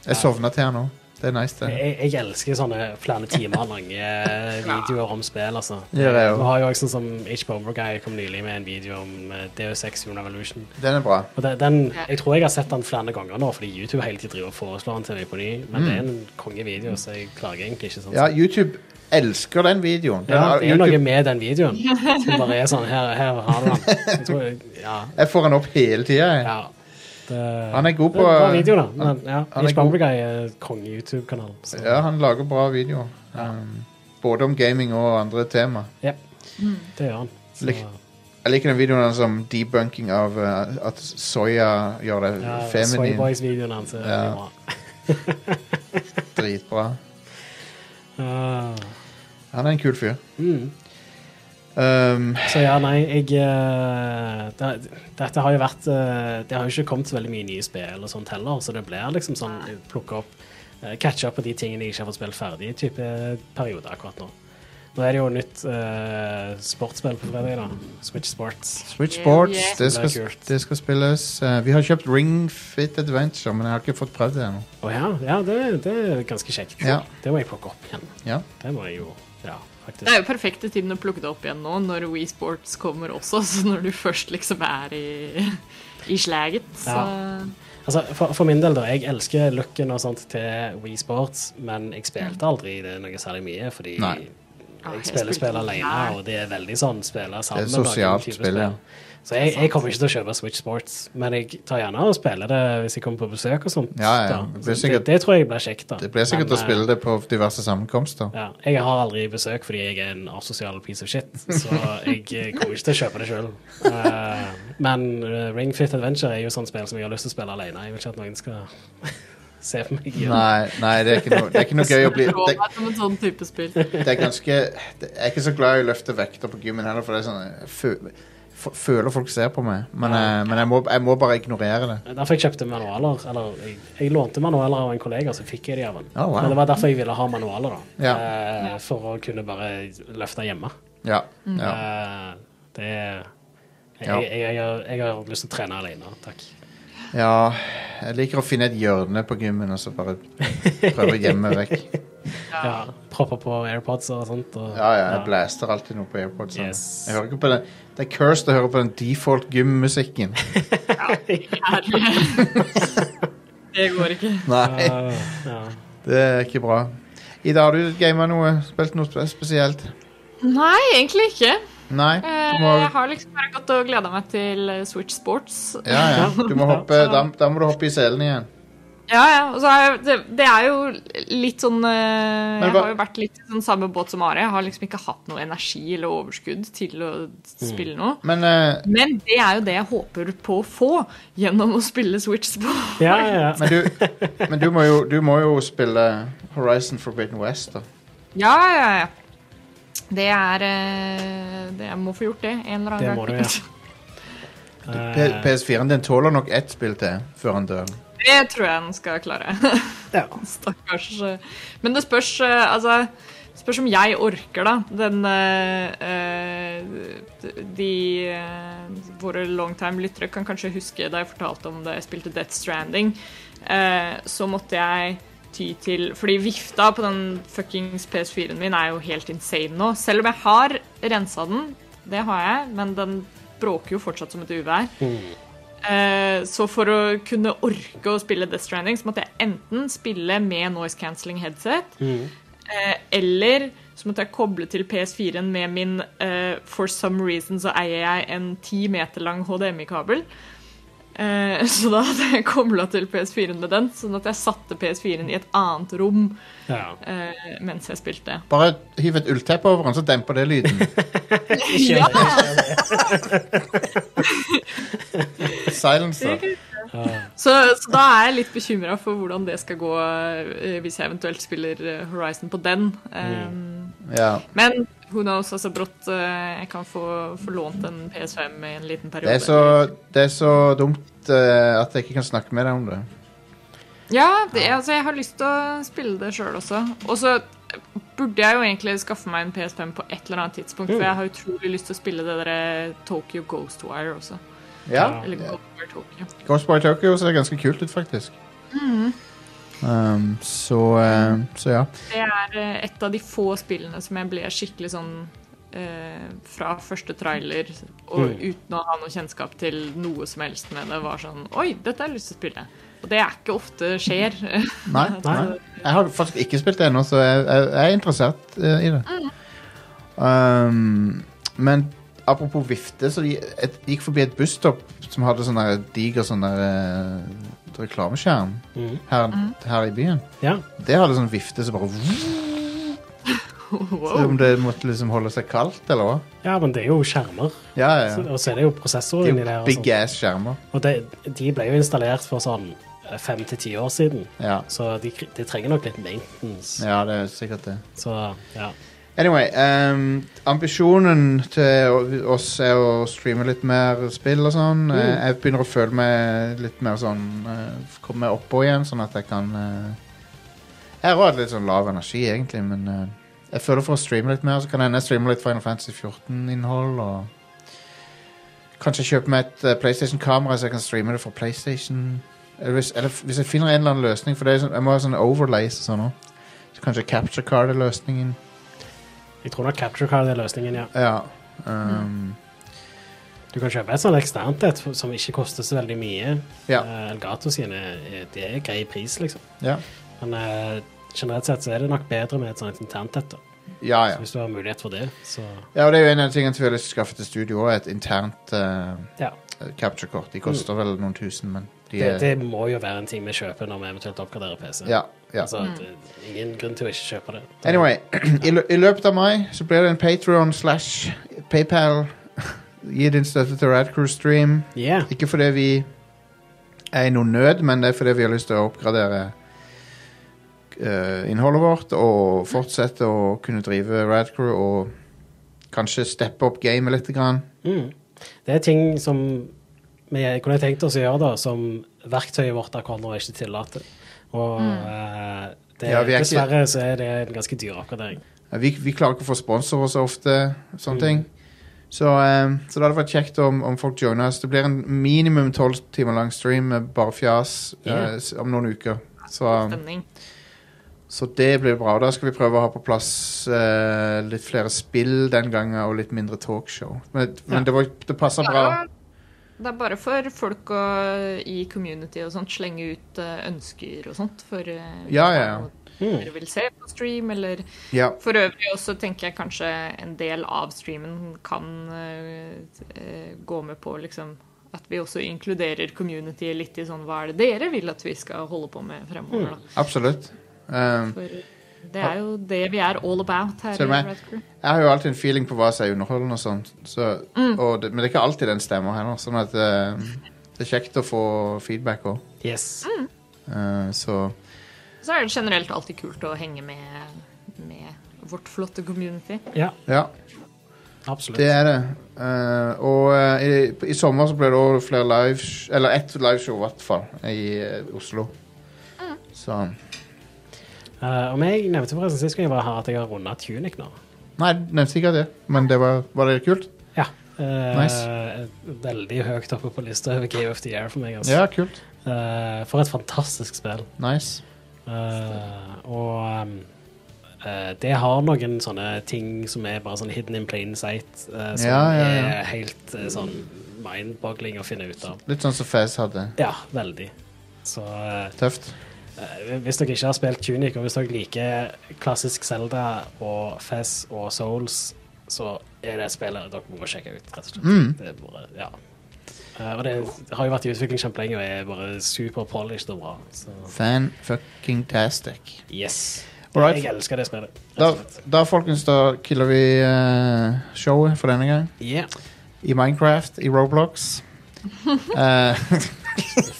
Jeg sovna til her nå. Det er nice, det.
Jeg, jeg elsker sånne flere timer lange eh, videoer om spill, altså.
Ja, det er jo.
Du har jo også sånn som HBO Guy kom nylig med en video om eh, DO6 Human Evolution.
Den er bra.
Og den, den, jeg tror jeg har sett den flere ganger nå, fordi YouTube hele tiden driver og foreslår den til meg på ny. Men det er en kongevideo, så jeg klager egentlig ikke sånn.
Mm. Ja, YouTube elsker den videoen. Den
Ja,
har-
det er noe
YouTube,
med den videoen som bare er sånn Her, her har du den. Jeg tror, ja,
jeg får den opp hele tida.
ja. Det,
Han er god på
det er en bra video, da. Men ja,
han er
Ish Bomber
god.
Guy er konge-YouTube-kanal. så-
Ja, han lager bra videoer. Um, både om gaming og andre tema.
Ja, det gjør han. Så,
Lik- Jeg liker den videoen hans om debunking av uh, at soya gjør det
ja,
feminin.
Soyboys-videoen hans eh, er
Ja.
veldig bra.
Dritbra.
Ah,
Han er en kul fyr.
mm.
Eh, Um,
Så ja, nei, jeg eh, det, Dette har jo vært eh, Det har jo ikke kommet så veldig mye nye spill og sånt heller, så det blir liksom sånn plukke opp eh, Catch up på de tingene jeg ikke har fått spilt ferdig i type periode akkurat nå. Nå er det jo nytt eh, sportsspill på fredag, da. Switch Sports.
Switch Sports,
Yeah.
det,
Det
skal,
er kult.
det skal spilles. Eh, vi har kjøpt Ring Fit Adventure, men jeg har ikke fått prøvd det ennå.
Å ja, ja det, det er ganske kjekt.
Ja.
Det må jeg plukke opp igjen.
Ja.
Det må jeg jo Ja, faktisk.
Det er jo perfekte tiden å plukke det opp igjen nå, når Wii Sports kommer også. Så når du først liksom er i, i slaget, så
Ja. Altså, for, for min del, da. Jeg elsker looken og sånt til Wii Sports, men jeg spilte aldri det noe særlig mye, fordi
Nei.
Ah, Mm. jeg
jeg spiller
spilte
spill
det
alene,
her.
og det er veldig sånn spille sammen.
Det er sosialt
lage en type
spill, ja.
Så jeg, jeg kommer ikke til å kjøpe Switch Sports, men jeg tar gjerne og spiller det hvis jeg kommer på besøk og sånt.
Ja, ja,
da.
det blir
Så
sikkert-
det, det tror jeg blir kjekt, da.
Det blir sikkert
Men,
å
eh,
spille det på diverse sammenkomster.
ja, jeg har aldri besøk fordi jeg er en asosial piece of shit, så jeg eh, kommer ikke til å kjøpe det sjøl. men eh, Ring Fit Adventure er jo sånn spill som jeg har lyst til å spille alene. Jeg vil ikke at noen skal se på meg. gjøre det.
Nei, nei det, er ikke noe, det er ikke noe gøy å bli
Rå
det,
meg som en sånn type spill.
det er ganske det, Jeg er ikke så glad i å løfte vekter på gymmen heller, for det er sånn jeg fø- f- føler folk ser på meg. Men, eh, men jeg, må, jeg må bare ignorere det.
Derfor jeg kjøpte manualer. Eller jeg, jeg lånte manualer av en kollega, så fikk jeg de av han.
Oh, wow.
Men det var derfor jeg ville ha manualer, da.
Ja.
Eh, for å kunne bare løfte hjemme.
Ja.
Mm.
ja.
Eh, det jeg,
Ja.
jeg, jeg, har- jeg har lyst til å trene alene. Takk.
Ja, jeg liker å finne et hjørne på gymmen og så bare prøve å gjemme vekk.
Ja, Propper på AirPods og sånt. Og,
Ja, ja, jeg blaster alltid noe på AirPods. sånn.
Yes.
Jeg hører ikke på den, det er cursed å høre på den default gymmusikken.
Det går ikke.
Nei,
Ja, Eh, ja.
det er ikke bra. Ida, har du gama noe? Spilt noe spe- spesielt?
Nei, egentlig ikke.
Nei?
Eh,
Du må,
Jeg har liksom bare gått og gleda meg til eh, Switch Sports.
ja, ja. Du må hoppe, da, da må du hoppe i selen igjen.
Ja, ja. Og så har jeg, det, det er jo litt sånn eh, Jeg
hva-
har jo vært litt i sånn samme båt som Are. Jeg har liksom ikke hatt noe energi eller overskudd til å spille noe.
Men eh,
Men det er jo det jeg håper på å få gjennom å spille Switch Sports.
ja, ja, ja.
men, du, men du, må jo, du må jo spille Horizon Forbidden West, da.
Ja, ja, ja. Det er eh, det, Jeg må få gjort det en eller
Det
annen
må du,
gang.
ja.
P-
Eh,
PS4-en din tåler nok ett spill til før han dør.
Det tror jeg den skal klare.
ja.
Stakkars. Men det spørs eh, Altså, det spørs om jeg orker, da. Den eh, eh, De eh, Våre longtime-lyttere kan kanskje huske da jeg fortalte om da jeg spilte Death Stranding. eh, så måtte jeg ty til Fordi vifta på den fuckings PS4-en min er jo helt insane nå. Selv om jeg har rensa den, det har jeg, men den bråker jo fortsatt som et uvær. Eh, Så for å kunne orke å spille Death Stranding, så måtte jeg enten spille med noise cancelling headset, eh, eller så måtte jeg koble til PS4-en med min eh, For some reason så eier jeg en ti meter lang HDMI-kabel. Eh, Så da hadde jeg kobla til PS4-en med den, sånn at jeg satte PS4-en i et annet rom
ja.
eh, mens jeg spilte.
Bare hiv et ullteppe over den, så demper det lyden.
Ja.
Silence, da.
Så, så da er jeg litt bekymra for hvordan det skal gå eh, hvis jeg eventuelt spiller eh, Horizon på den. Eh,
Ja.
Men who knows, altså brått eh, jeg kan få, få lånt en PS5 i en liten periode.
Det er så, det er så dumt eh, at jeg ikke kan snakke med deg om det.
Ja, det, er- altså jeg har lyst til å spille det sjøl også. Og så burde jeg jo egentlig skaffe meg en PS5 på et eller annet tidspunkt,
Mm.
for jeg har utrolig lyst til å spille det derre Tokyo Ghostwire også.
Ja.
Eller Ghostwire Tokyo.
Ghostboy Tokyo ser ganske kult ut, faktisk. Um, så, eh, så ja.
Det er eh, et av de få spillene som jeg ble skikkelig sånn eh, fra første trailer og
Mm.
uten å ha noe kjennskap til noe som helst med det, var sånn Oi, dette har jeg lyst til å spille. Og det er ikke ofte skjer.
Nei, nei. Jeg har faktisk ikke spilt det ennå, så jeg, jeg, jeg er interessert eh, i det. Um, men apropos vifte, så de, et, de gikk forbi et busstopp som hadde sånn der diger sånn der eh, reklameskjerm
Mhm.
her, her i byen.
ja.
Det hadde sånn vifte som bare
wow.
Om det måtte liksom holde seg kaldt, eller hva?
Ja, men det er jo skjermer.
Ja, ja.
Så- Og så er det jo prosessorer
Det
inni
er
der.
jo
altså. og
big
sånt.
ass skjermer.
Og det, de ble jo installert for sånn eh, fem til ti år siden,
Ja.
så de, de trenger nok litt maintenance.
ja, det er sikkert det.
Så ja.
Anyway, ehm, ambisjonen til å- oss er å streame litt mer spill og sånn. Eh, Jeg begynner å føle meg litt mer sånn eh, Komme meg oppå igjen, sånn at jeg kan eh, Jeg har også hatt litt sånn lav energi, egentlig, men eh, jeg føler for å streame litt mer, så kan jeg hende jeg streame litt Final Fantasy 14-innhold og Kanskje kjøpe meg et eh, PlayStation-kamera, så jeg kan streame det fra PlayStation. Eller hvis, eller f- hvis jeg finner en eller annen løsning, for det er sånn, jeg må ha sånne overlays og sånn også. Så kanskje capture card er løsningen.
Jeg tror nok Capture Card er løsningen, ja.
Ja. Um,
Du kan kjøpe et sånt eksternt et som ikke koster så veldig mye.
Ja.
Eh, Elgato sine eh, det er grei pris, liksom.
ja.
Men eh, generelt sett så er det nok bedre med et sånt internt et. da.
Ja, ja.
Så Hvis du har mulighet for det, så
ja, og det er jo en av tingene som vi har lyst til å skaffe til studio også, et internt eh,
ja.
capture-kort. De koster vel noen tusen, men de
Det,
er
det må jo være en ting vi kjøper når vi eventuelt oppgraderer PC.
Ja. ja.
Altså, det, ingen grunn til å ikke kjøpe det. Da-
Anyway, i, lø I løpet av mai så blir det en Patreon slash PayPal. Gi din støtte til Radcrew Stream.
Ja.
Ikke fordi vi er i noen nød, men det er fordi vi har lyst til å oppgradere eh, innholdet vårt og fortsette å kunne drive Radcrew og kanskje steppe opp gamet litt. Grann.
Mm. Det er ting som vi kunne tenkt oss å gjøre, da, som verktøyet vårt akkurat nå ikke tillater. Og eh, det,
Ja, vi er ikke-
dessverre så er det en ganske dyr oppgradering.
Vi, vi klarer ikke å få sponsorer så ofte. Sånne ting. Så, eh, så det hadde vært kjekt om, om folk joina oss. Det blir en minimum tolv timer lang stream med bare fjas eh,
Ja.
s- om noen uker. Så, ehm,
Stemning.
så det blir bra. Og da skal vi prøve å ha på plass eh, litt flere spill den gangen og litt mindre talkshow. Men, men det, var, det passer bra.
Ja, det er bare for folk å, i community og sånt slenge ut eh, ønsker og sånt for eh,
Ja, ja, ja.
hva dere vil se på stream, eller
Ja.
For øvrig også tenker jeg kanskje en del av streamen kan eh, eh, gå med på liksom at vi også inkluderer communityet litt i sånn hva er det dere vil at vi skal holde på med fremover,
Mm.
da.
Absolutt. Um,
For det er jo det vi er all about her
Ser du
i
meg?
Red Crew.
jeg har jo alltid en feeling på hva som er underholdende og sånt, så, og det, men det er ikke alltid den stemmer heller. Sånn at eh, det er kjekt å få feedback òg.
Yes.
Eh, så
Så er det generelt alltid kult å henge med, med vårt flotte community.
Ja,
ja,
absolutt.
det er det. Eh, og eh, i, i sommer så blir det òg flere live... Eller ett liveshow, i hvert fall, i eh, Oslo. Så
Eh, om jeg nevnte forresten sist gang jeg var her, at jeg har runda Tunic nå.
Nei, nevnte ikke det, men det var, var det kult?
Ja. Eh,
Nice.
Veldig høyt oppe på lista over Game of the Year for meg. Altså.
Ja, kult.
Eh, for et fantastisk spill.
Nice.
Eh, og um, eh, det har noen sånne ting som er bare sånn hidden in plain sight, eh, som
Ja, ja, ja.
er helt eh, sånn mind-boggling å finne ut av.
Litt sånn som Fez hadde.
Ja, veldig. Så eh,
Tøft.
eh, hvis dere ikke har spilt Tunic, og hvis dere liker klassisk Zelda og Fez og Souls, så er det spillet dere må sjekke ut, rett og slett.
Mm.
Det er bare, ja. Eh, og det har jo vært i utvikling kjempelenge og er bare super polished og bra. Så
Fan-fucking-tastic.
yes.
Alright.
Jeg elsker det spillet. rett
Da,
og slett.
da folkens, da killer vi eh, showet for denne gang.
Yeah.
I Minecraft, i Roblox. Eh,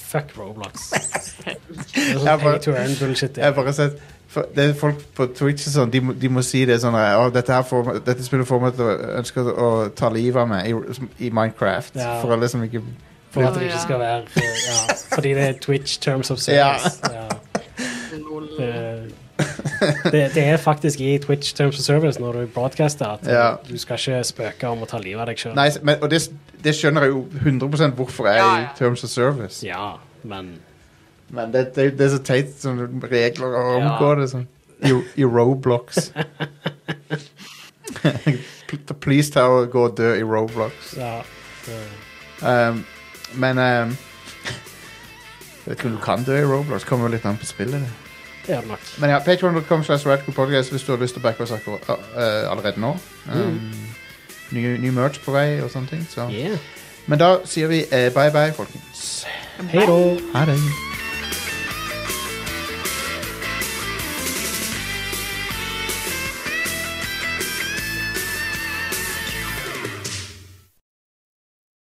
Fuck Roblox. Det er
Jeg
sånn
bare-
pay to earn bullshit.
jeg har
Ja.
bare sett for, Det er folk på Twitch og sånn, de, må- de må si det sånn eh, «Å, dette, her får, meg- dette spillet får meg til å ønske å ta livet av meg i, i Minecraft.
Ja.
For alle som ikke
For at
Å,
det ikke
ja.
skal være ja. Fordi det er Twitch terms of service. Ja. Det, det, det er faktisk i Twitch terms of service når du broadcaster at
Ja.
du skal ikke spøke om å ta livet av deg sjøl.
Nei, men, Og det, det skjønner jeg jo 100 hvorfor jeg
Ja,
er i
ja.
Terms of Service.
Ja, men
Men det, det, det er så teit sånne regler å
Ja.
omgå det sånn. I, i Roblox. Pl- Please ta og gå og dø i Roblox.
ja, det,
Um, men um, Jeg vet ikke om du kan dø i Roblox. Kommer jo litt an på spillet. Det.
det er det nok.
Men ja, patreon.com slash Radcool Podcast hvis du har lyst til å backe oss akkurat, uh, allerede nå. Um, ny, ny merch på vei og sånne ting. Så.
Yeah.
Men da sier vi eh, bye bye, folkens.
Hei da.
Ha det.